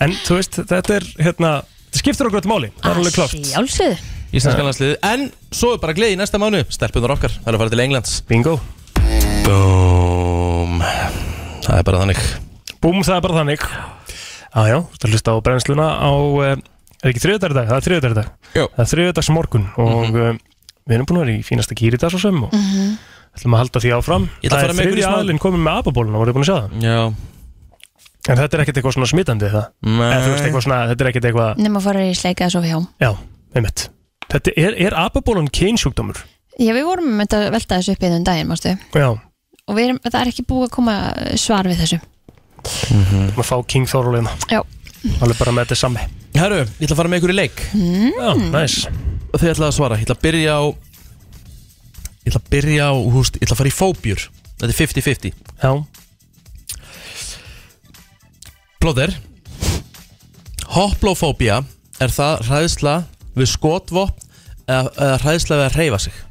en þú veist, þetta er hérna, þetta skiptir okkur þetta máli. Það er alveg klart. Sjálfsögðu. íslenska landsliði En svo er bara gleði í næsta mánu Stelpunar okkar, það er að fara til Englands Bingo Búm Það er bara þannig Búm, það er bara þannig Ah, Já, já, þú ert að hlusta á brennsluna á eh, Er ekki þriðdagur dag? Það er þriðdagur dag Jó. Það er þriðdags morgun Og Mhm. mm við erum búin að vera í fínasta kýri í dag svo sem Og ætlum að halda því áfram Ég ætla að Það fara er með ykkur í þriðja smá- aðlinn komin með apabóluna Voruð þið búin að sjá það? Já En þetta er ekkert eitthvað svona smitandi það Eh, Eða, þú veist, eitthvað svona, Þetta er ekkert eitthvað Nefn að fara í sleika að sofa hjá Já, einmitt Þetta er, er apabólan kynsjúkdómur Já, við vorum með þetta velta þessu upp í þenn daginn, mástu Já, Og við erum, það er ekki búið að koma eh, svar við þessu Mm. maður fá King Þórulegna Já, Alveg bara með þetta sami Herru, ég ætla að fara með ykkur í leik Já, næs og þið ætlaði að svara Ég ætla að byrja á Ég ætla að byrja á, húst, ég ætla að fara í fóbjur Þetta er 50-50 Já, Plóðir Hoplofóbía er það hræðsla við skotvopn eða, eða hræðsla við að hreyfa sig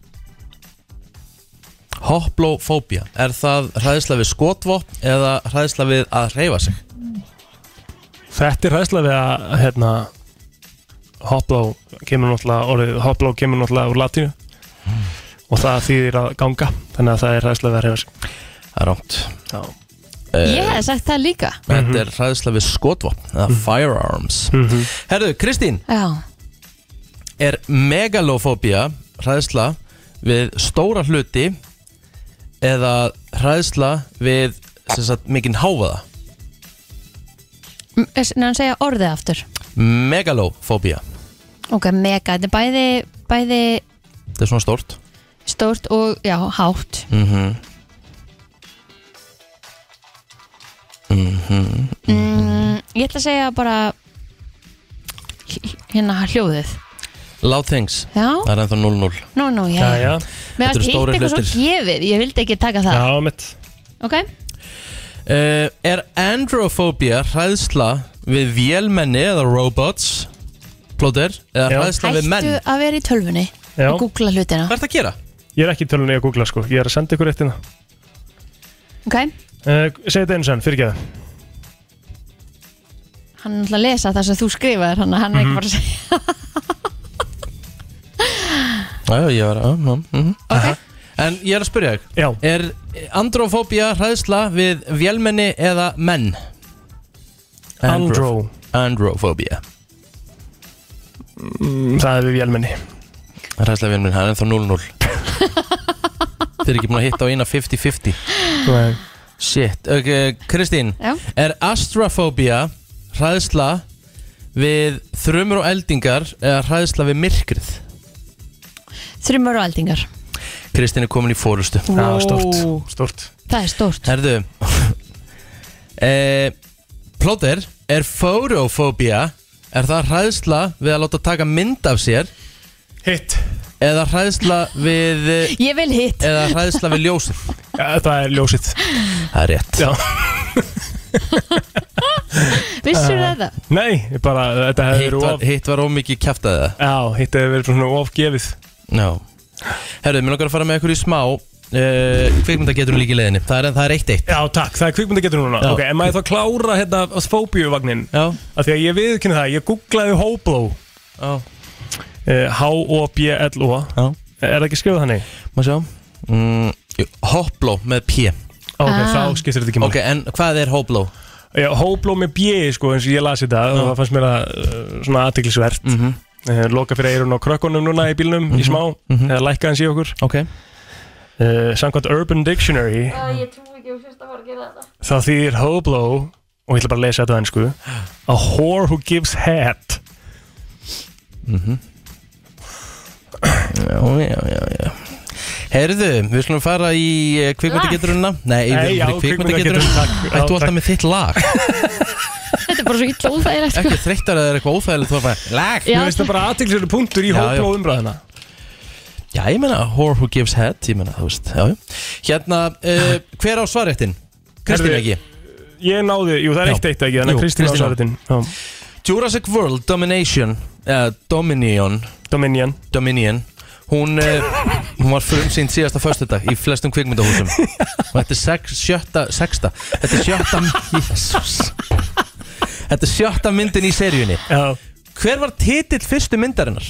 Hoplofóbía er það hræðsla við skotvopn eða hræðsla við að hreyfa sig þetta er hræðslega við að hérna, Hopló kemur náttúrulega orðið, Hopló kemur náttúrulega úr latínu og það þýðir að ganga þannig að það er hræðslega við að hreyfa sig Það er rámt Já, Eh. ég hef sagt það líka Þetta er hræðsla við skotvopn eða firearms Herðu, Kristín Já, er megalofóbía hræðsla við stóra hluti eða hræðsla við sem sagt, mikinn háfaða M- er- en hann segja orðið aftur megalofóbía Ok, mega, þetta er bæði, bæði þetta er svona stórt stórt og, já, hátt mm -hmm. mm, Ég ætla að segja bara h- hérna hljóðið loud things Já, það er ennþá 0-0 nú, nú, já, já, já. já, Mér Þetta eru varst hitt stórir eitthvað svo hlutir. gefið, ég vildi ekki taka það já mitt Ok, uh, er androfóbía hræðsla við vélmenni eða robots plóter eða Já. hræðsla við menn hættu að vera í tölvunni Já, og googla hlutina hvað er það að gera? ég er ekki í tölunni að googla sko, ég er að senda ykkur eittina Ok, uh, Segðu þetta eins og enn, fyrirgeðu hann ætla að lesa það sem þú skrifaðir hann, hann er ekki bara að segja Já, já, ég var að uh, uh, Ok, en ég er að spyrja þig Já, Er androfóbía hræðsla við vélmenni eða menn? andró, Androfóbía það er við vélmenni Hræðsla við vélmenni, það er ennþá 0-0 Þið er ekki búin að hitta á eina 50-50 Nei. Shit, ok, Kristín Já. Er astrafóbía hræðsla við þrumur og eldingar eða hræðsla við myrkrið? þrjumar og eldingar Kristín er komin í fórustu Já, stórt, stórt Það er stórt Herðu e, Plóter Er fórofóbía Er það hræðsla við að láta taka mynd af sér Hitt, Eða hræðsla við eh, Ég vil hitt Eða hræðsla við ljósið ja, það er ljósitt Það er rétt Já, Vissur þetta? nei, ég bara, þetta hefur Hitt verið var, of hitt var ómikið kjæftað það Já, hitt hefur verið svona ofgefið Já Herðu, mér langar að fara með ykkur í smá uh, Kvikmynda getur hún líka í leiðinni Það er, það er eitt eitt Já, takk, það er kvikmyndagetur núna Já. Ok, en maður þá klára hérna fóbíuvagnin Já, Af því að ég viðkynna það, ég googlaði Hoblo já, eh, H-O-B-L-O já Er það ekki skrifað þannig? Má sjá mm, jú, Hopló með P Ok, Ah. þá skiptir þetta ekki Ok, máli en hvað er Hopló? okay. Hoblo með B, sko, eins og ég lasi þetta og það fannst mér það eh, svona aðtiklisvert mm Mhm. Loka fyrir eirun á krökkunum núna í bílnum í smá, Mhm. eða lækka hans í okkur Ok uh, Samkvæmt Urban Dictionary Þá þýðir Hoblo og ég ætla bara að lesa þetta þannig sko A whore who gives head Já, já, já, já Herðu, við slumum fara í eh, kvikmyndageturuna Nei, við Nei, já, erum í kvikmyndageturuna kvikmyndageturinn, takk. Já, Ættu alltaf takk. með þitt lag Þetta er bara svo illa óþægilegt sko. Ekki þreyttar eða eitthvað óþægilegt þú er bara Lag Já, Þú veist það bara aðtilsverðu punktur Já, í já. hópla og umræðina Já, ég meina, whore who gives head Ég meina, þú veist, já, já Hérna, uh, hver á svarréttin? Kristín Herðu, ekki Ég náði, jú það er Já. eitt eitt ekki Þannig Jú, að Kristín á Kristín á. svaretin Jurassic World Domination uh, Dominion Dominion Dominion Hún, uh, hún var frumsýnd síðasta föstudag í flestum kvikmyndahúsum og þetta er sex, sjötta, sexta þetta er sjötta Jesus. þetta er sjötta myndin í seríunni Já Hver var titill fyrstu myndarinnar?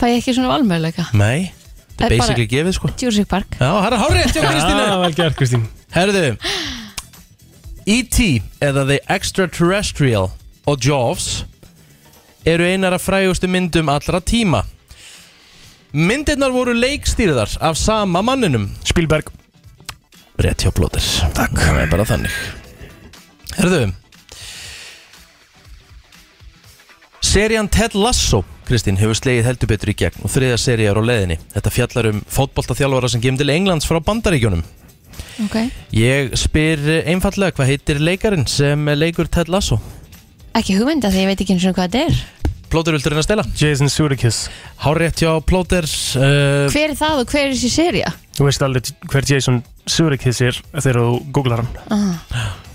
Fæ ég ekki svona valmöðuleika Nei, þetta Það er er basically gefið sko Jurassic Park Já, það er hárið hjá Kristínu Já, Ah, vel gert Kristín Herðu E.T. eða The Extraterrestrial og Jaws eru einar af frægustu myndum allra tíma Myndirnar voru leikstýrðar af sama manninum Spielberg Rétt hjá blóðir Takk Það er bara þannig Herðu Serían Ted Lasso Kristín hefur slegið heldur betur í gegn og þriðja seríjar á leiðinni Þetta fjallar um fótboltaþjálfara sem kemur til Englands frá Bandaríkjónum Ok Ég spyr einfallega hvað heitir leikarinn sem leikur Ted Lasso Ekki hugmynda því ég veit ekki eins og hvað þetta er Plóter vildur hérna að stela Jason Sudeikis Hárétt hjá Plóter uh, Hver er það og hver er þessi seria? Þú veist alveg hver Jason Sudeikis er þegar þú googlar hann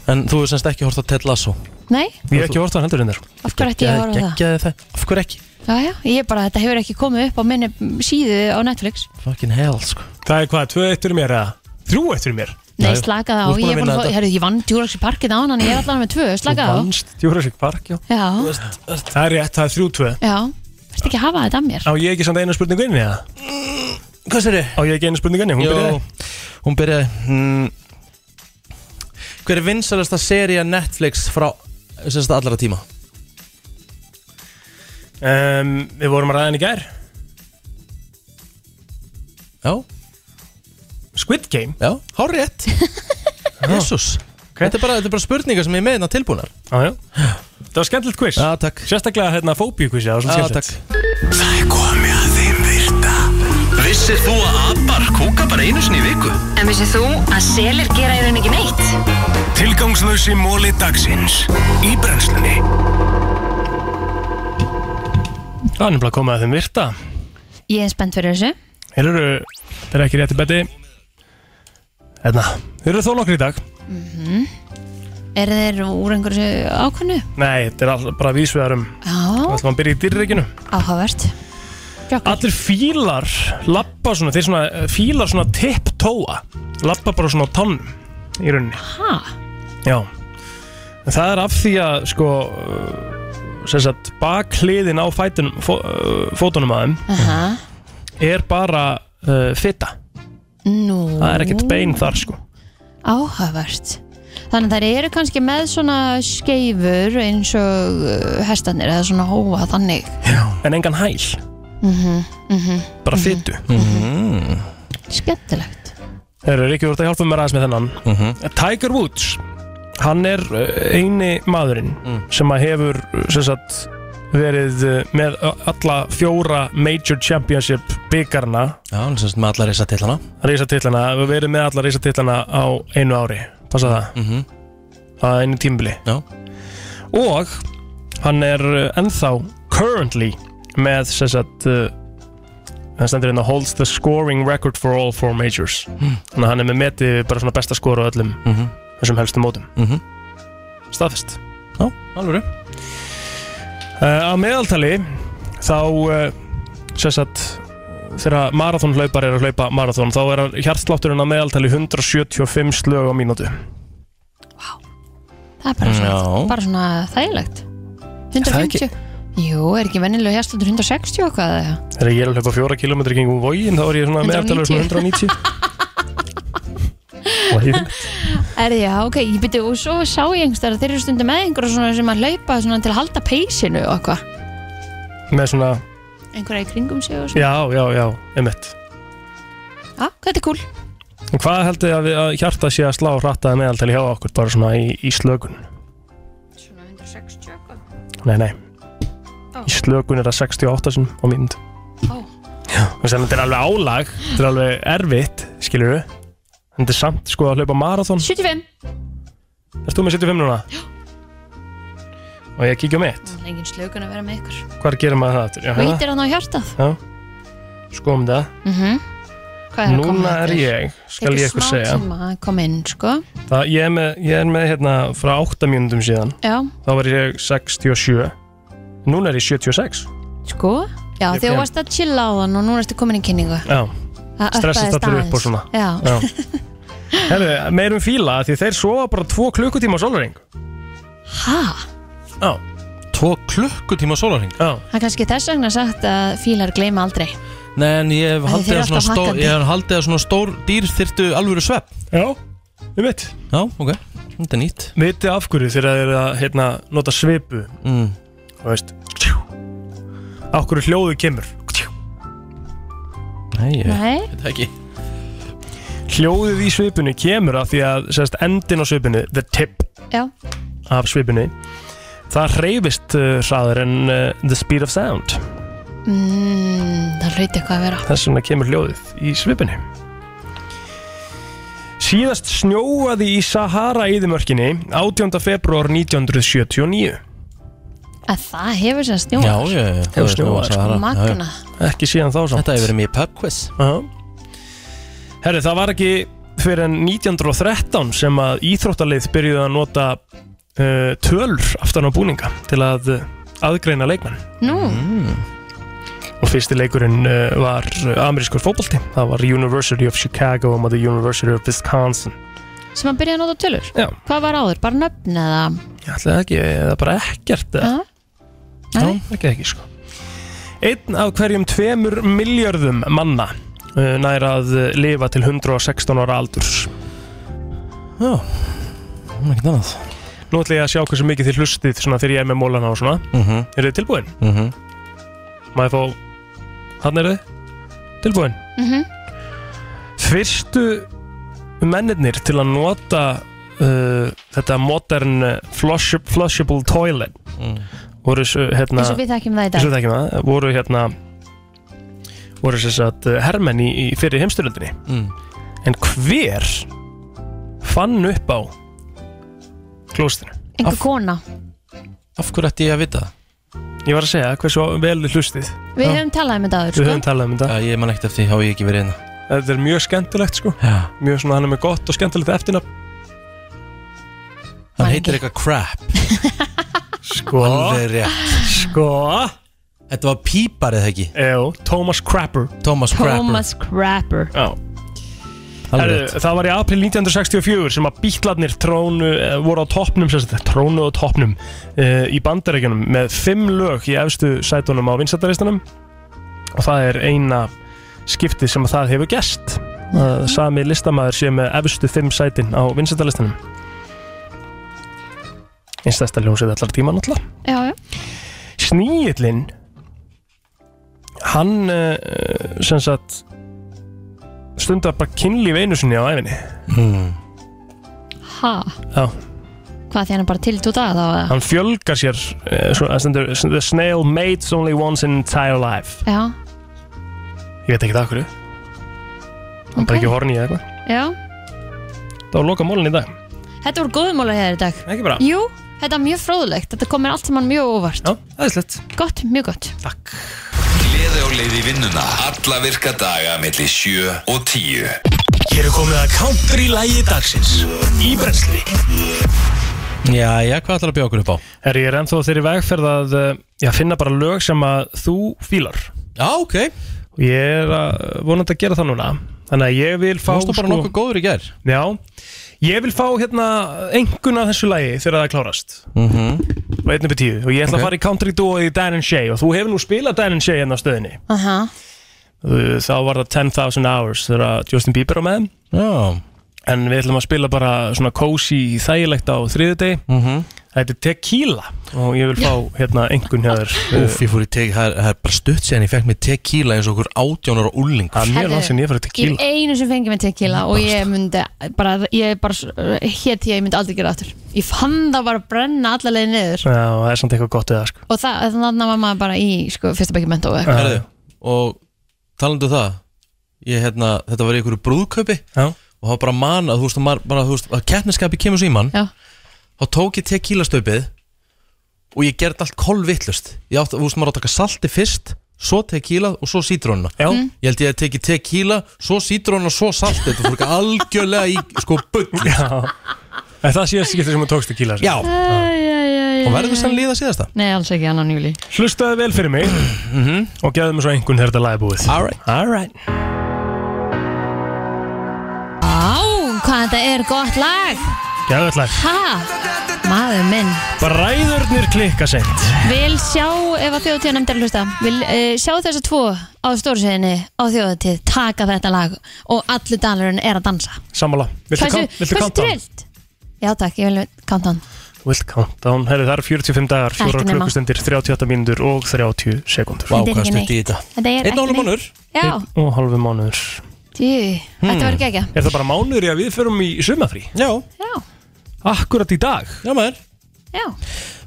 En þú hefur semst ekki hort á Ted Lasso Nei, Ég hef ekki orðað hann heldur hennar af hverju ætti ég að horfa á það? Gekkjaði það Af hverju ekki? Já, já, ég bara, þetta hefur ekki komið upp á minni síðu á Netflix Fucking hell sko Það er hvað, 2-1 fyrir mér eða? 3-1 fyrir mér Nei, Já, já. slaka það á, Þú ert búin ég er að búin vinna að fá, þetta. herru, ég vann Jurassic Parkin á hann, ég er allan með tvö, slaka það á Jurassic Park, já Já, Það er rétt, það er 3-2 já, verðst ekki að hafa þetta að mér Á ég ekki samt eina spurningu inni eða? Hvað sér þið? Á ég ekki eina spurningu inni, hún byrjaði Jó, hún byrjaði mm, Hver er vinsalasta seria Netflix frá semst allra tíma? um, Við vorum að ræða hann í gær Já, Squid Game já, hár rétt Jésús Þetta er bara, þetta er bara spurningar sem ég er með hérna tilbúnar Já, já Það var skemmtilegt quiz Já, takk Sérstaklega hérna fóbíukvissi, það var Já, svolítið takk skemmtilegt Það er komið að þeim virta. Vissir þú að abar kúka bara einu sinni í viku? En vissið þú að selir gera í raun ekki neitt? Tilgangslösi móli dagsins í brennslunni. Það er nefnilega að koma að þeim virta Ég er spennt fyrir þessu Þeir eru, þeir eru ekki rétti beti Hérna, þeir eru þó nokkri í dag Er þeir úr einhverju ákvönnu? Nei, þetta er all, bara vísvegarum Það Já, ætlum að byrja í dýrreikinu áhugavert Allir fílar lappa svona, þeir svona, eh, fílar svona tipptóa Lappa bara svona á tannum í rauninni Ha, Já En það er af því að sko eh, sem sagt bakhliðin á fætunum, fó, eh, fótunum aðeim aha, er bara uh, fitta nú það er ekkert bein þar sko Áhugavert Þannig að þær eru kannski með svona skeifur eins og uh, hestarnir eða svona hóa þannig en engan hæl bara fittu Mhm, Skemmtilegt Þeir eru ekki úr að hjálpa mér aðeins með þennan mhm. Tiger Woods hann er eh, eini maðurinn sem að hefur eh, sem sagt, verið eh, með alla fjóra major championship byggarna Já, hún er semst með allar reysa til hana reysatillana, við verið með alla reysatillana á einu ári, passa það Mhm. á einu tímbili Já. og hann er uh, ennþá currently með sem sagt uh, hann stendur inn að holds the scoring record for all four majors Hmm. þannig að hann er með metið bara svona besta skor á öllum mm -hmm. þessum helstu mótum mm -hmm. staðfest Já, alvöru uh, að meðaltali þá uh, sem sagt þegar marathónhlaupar eru að hlaupa marathón þá er hjartslátturinn að meðaltali 175 slög á mínútu Það er bara svona, Já. bara svona þægilegt það ekki- 150 Jú, er ekki vennilega hérstöldur 160 og hvað eða? Þegar ég er að hlaupa fjóra kilometri kringum vógin þá er ég svona 190. meðaltalur svona 190 Og ég- Er já, ok, ég byrju og svo sá ég einhvers þar að þeir eru stundum með einhverja svona sem að hlaupa svona til að halda peysinu og eitthvað Með svona, einhverja í kringum sig og svona já, já, já, emitt ah, Þetta er cool En hvað heldur þið að, við- að hjarta sé að slá hrattaði meðaltali hjá okkur bara svona í, í slökun? Svona 160 og hvað Nei, nei Í slökun er það 68 sinn á mínútu Ó. Já, þannig að þetta er alveg álag Þetta er alveg erfitt, skilur við Þetta er samt, sko, að hlaupa marathón 75 Erst þú með 75 núna? Já Og ég kíkja á mitt Það er engin slökun að vera með ykkur Hvar gerir maður það aftur? Já, hérna. Veitir hann á hjartað Skoðum það mm Hvað er að koma Núna er þetta? ég, skal Tekur ég ykkur smá segja tíma að koma inn, sko það, ég, er með, ég er með hérna frá 8 mínúndum síðan Já, Þá var ég 67 Núna er ég 76 sko Já, þegar Ég- ég- þú varst að chilla á þann og núna ertu komin í kynningu Já, Það Stressast uppaðist allir upp og aðeins. svona. Já, já Herðu, um meirum fíla af Því þeir sofa bara 2 klukkutíma á sólaring hæ? Já, tvo klukkutíma sólarhing Já. Það er kannski þess vegna sagt að fílar gleyma aldrei Nei, en ég hef Þeir haldið eru að svona, alltaf stó, hakkandi. ég hef haldið að svona stór dýr þyrtu alvöru svepp Já, við mitt Já, ok, þetta er nýtt Vitið af hverju þegar þeir eru að hérna, nota svipu mm. Þú veist tjú, Af hverju hljóðu kemur tjú. Nei, ég Nei, veit það ekki Hljóðið í svipunni kemur af því að sérst, endin á svipunni, the tip já, af svipunni það hreyfist uh, hraðar en uh, the speed of sound mm, það hluti eitthvað að vera þess vegna kemur hljóðið í svipunni Síðast snjóaði í Sahara íðimörkinni 18. februar 1979 að það hefur sem Já, snjóa já, já Hefur snjóað, sko. magna, ekki síðan þá samt Þetta hefur verið mér pubquiz Já. Herri, það var ekki fyrir en 1913 sem að íþróttalið byrjuði að nota uh, tölur aftan á búninga til að uh, aðgreina leikmann nú, Mhm. og fyrsti leikurinn uh, var uh, amerískur fótbolti, það var University of Chicago og the University of Wisconsin sem að byrja að nota tölur Já. hvað var áður, bara nöfn eða Ég ætlaði ekki, eða bara ekkert eða, ja. Nei. Já, ekki ekki sko Einn af hverjum tveimur miljörðum manna uh, nær að uh, lifa til 116 ára aldurs Já, ekkert annað Nú ætla ég að sjá hversu mikið þið hlustið svona þegar ég er með mólana og svona. mm -hmm. Eru þið tilbúin? Má ég fá... Hann eru þið? Tilbúin? Mm Fyrstu mennirnir til að nota uh, þetta modern uh, flush, flushable toilet Mm. voru svo, hérna... eins og við þekkjum það í eins dag og við þekkjum það, voru hérna voru sem sagt uh, hermenn í, í fyrir heimstyrlundinni. mm. En hver fann upp á klóstinu? einhver kona, Af hverju ætti ég að vita það? Ég var að segja hversu vel þið hlustið. við Já. höfum talað um þetta áður Við sko? höfum talað um þetta. Já, ég man ekkert eftir, því, þá hef ég ekki verið hérna Eh, Þetta er mjög skemmtilegt sko Já, Mjög svona hann er með gott og skemmtilegt eftirnafn hann Man heitir ekki. eitthvað crap Sko Alveg rétt Sko Þetta var pípar eða ekki Ejó, Thomas Crapper Thomas Crapper Thomas Crapper Já Alveg Heru, rétt. Það var í april 1964 sem að bítlarnir trónu, eh, voru á toppnum sem sagt, trónu á toppnum eh, í bandarækjunum með fimm lög í efstu sætunum á vinsættaristanum og það er eina skiptið sem að það hefur gest að sami listamaður sé með efstu fimm sætin á vinsættaristanum einstæðsta ljósið allar tíma náttúrulega já, já. Sníillinn hann uh, sem sagt stundar bara kynlíf einu sinni á æfinni mm. ha, Já. hvað því hann er bara til tóta þá eða? hann fjölgar sér uh, svo, að stendur, the snail mates only once in entire life já, ég veit ekki það hverju, hann bara ok ekki horni eða eitthvað já. það var loka mólinn í dag, þetta voru góðmála hér í dag ekki bara jú, þetta er mjög fróðlegt, þetta komir allt saman mjög óvart Já, það er slett gott, mjög gott Takk Gleði á leið í vinnuna Alla virka daga millir 7 og 10 Hér er komið að country lægi dagsins Í brensli Já, já, hvað ætlar að bjóða okkur upp á? Herri, ég er ennþá þeirri vegferð að eh, já, finna bara lög sem að þú fílar Já, ok, og ég er að vonandi að gera það núna þannig að ég vil fá sko, fórstu bara nokkuð góður í gær já, ég vil fá hérna engun af þessu lagi þegar það klárast mm og einn upp í tíu og ég ætla Ok. að fara í country duo í Dan and Shay og þú hefur nú spilað Dan and Shay hérna á stöðinni aha, Þú- Eh, þá var það 10.000 hours þegar að Justin Bieber á með þeim Já, en við ætlum að spila bara svona cozy þægilegt á þriðudegi mm þetta er tequila og ég vil fá hérna engun hjá þér Úf, ég fór í tek, það er, það er bara stutt séðan ég fekk mér tequila eins og okkur átjónar og úling það er Herðu, mjög langt sem Eh, ég ég farið tequila er einu sem fengið mig tequila og ég myndi bara, ég bara hétt ég, ég myndi aldrei gera aftur ég fann það bara að brenna alla leið niður já, það er samt eitthvað gott við það sko og það, þannig var maður bara í sko, fyrsta bekki mentó uh. Herðu, og talandu um það ég, hérna, þetta var í einhverju brúðkaupi Já. og það var bara man að þú veist, maður, bara, þú veist að keppniskapi kemur svo í mann Já. þá tók ég tequila stöpið og ég gerði allt kolvittlust ég átti, þú veist, maður átt að taka salti fyrst svo tequila og svo sítrónuna Já. Mm. ég held ég að teki tequila, svo sítrónuna svo salti, þetta fór ekki algjörlega í sko bull já. En það síðast skiptir sem þú tókst tequila sko. Já, og verður þess að líða síðasta Nei, alls ekki annan júli Hlustaðu vel fyrir mig og gefðu mér svo einhvern þegar þetta lag er búið Alright. Alright. Á, hvað þetta er gott lag Gefðu þetta lag Ha, Maður minn Bræðurnir klikka seint Vil sjá, ef að þjóðatíð nefndir hlusta Vil uh, sjá þessa tvo á stórsveginni á þjóðatíð Taka þetta lag og allur dalurinn er að dansa Sammála Viltu Hversu- count- viltu hversu countdown? trillt? Já takk, ég vil countdown Viltu countdown? Herri, það eru 45 dagar, Ekki 4 nema. klukkustundir, 38 mínútur og 30 sekundur Þetta er ekki neitt. Þetta er Einn og ekki hálfur neitt. mánuður. Já, Og halvu mánuður djú, þetta var ekki ekki Er það bara mánuður í að við förum í sumafrí? Já, Já, Akkurat í dag já maður já,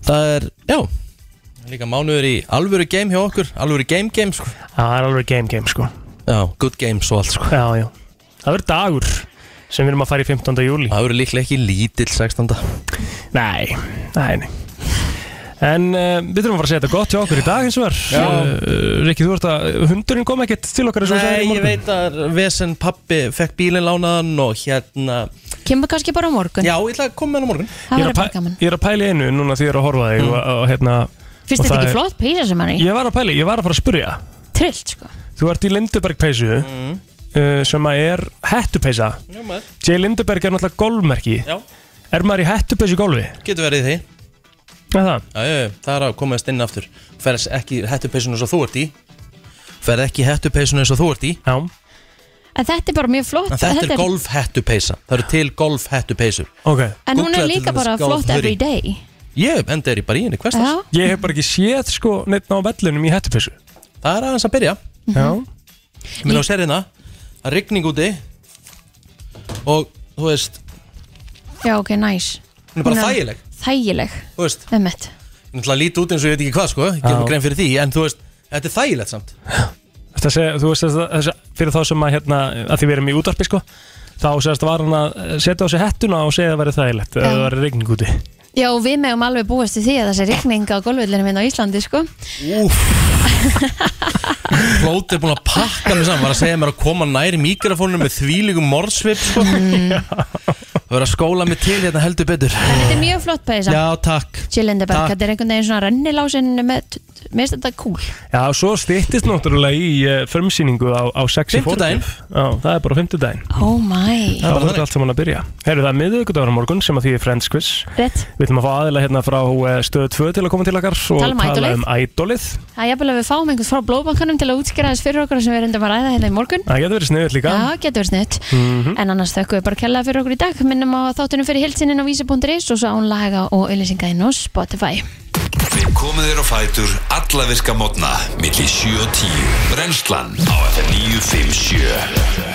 Það er, já Líka mánuður í alvöru game hjá okkur Alvöru game game sko Já, Það er alveg game game sko Já, good games og allt sko Já, já Það verður dagur sem við erum að fara í 15. júli Það eru líklega ekki lítill 16. Nei, nei, nei En uh, við þurfum að fara að segja þetta gott hjá okkur í dag eins og var uh, Rikki, þú ert að hundurinn kom ekkert til okkar eins og þú sagðir í Nei, ég morgun. veit að Vesen pappi fekk bílinn lánaðan og hérna kemur kannski bara á morgun Já, ég ætla að koma með hann á morgun Það Ég er var að bara pæ- gaman Ég er að pæli einu núna því ég er að horfa á þig og, og hérna Fyrst og þetta það ekki er- flott peysa sem hann er í? Ég var að pæli, ég var að fara að spurja Trillt sko Þú ert í Lindeberg peysu Mm. uh, sem að er hettupeysa Já, maður J. Lindeberg er náttúrulega golfmerki Já, Er maður í hettupeysu í golfi? getur verið í því Er það? Já, já, já, það er að komast inn aftur Ferð ekki í hettupeysunum eins og þú ert í Ferð ekki í hettupeysunum eins og þú ert í Já, En þetta er bara mjög flott En þetta er golfhettupeysa Það eru til golfhettupeysur ok En hún er Googlaði til líka dæmis bara golf flott hoodie. every day Ég enda er í bara í henni hverstans Já, Ég hef bara ekki séð sko neitt á vellinum í hettupeysu Það er aðeins að byrja Já, Ég meina á serina Það er rigning úti Og þú veist já ok, nice Hún er bara Hún er- þægileg Þægileg, Þú veist emmett Ég ætla að líti út eins og ég veit ekki hvað sko Ég Já. gerum grein fyrir því En þú veist Þetta er þægilegt samt Þetta segja, þú veist þess að þess að- fyrir þá sem að hérna, að því við erum í útarpi sko þá segast var hann að setja á sig hettuna og segja að það væri þægilegt eða það væri regning úti Já, og við megum alveg búast til því að þessi rigning á golfvillinu minn á Íslandi, sko Plóti er búin að pakka mig saman Var að segja mér að koma nær mikrofóninu Með þvílíkum morðsvip sko Það verður að skóla mig til hérna heldur betur Þetta er mjög flott peysa Já takk Chillindeberg, Takk. þetta er einhvern veginn svona rennilásin með, mér finnst þetta cool Já, svo styttist náttúrulega í uh, frumsýningu á, á sexi Fimmtudaginn. Já, það er bara fimmtudaginn Oh my, Það bara var þetta þannig. allt saman að byrja Herru, það er miðvikudagur á morgun sem að því er Friends Quiz rétt Við ætlum að fá aðila hérna frá eh, stöðu 2 til að koma til okkar og Tala um tala Idolið. um ædolið Það er jafnvel að við fáum einhvern frá blóðbankanum til að útskýra þess fyrir okkur sem við reyndum að ræða hérna í morgun Það getur verið sniðið líka Já, getur verið snitt En annars þökkum við bara kjallaði fyrir okkur í dag Minnum á þáttunum fyrir hilsininn á vísi.is og svo án laga og auðlýsingaðinn á Spotify Við komum þér á fætur alla virka mótna millir 7 og 10 Brennslan á FM 957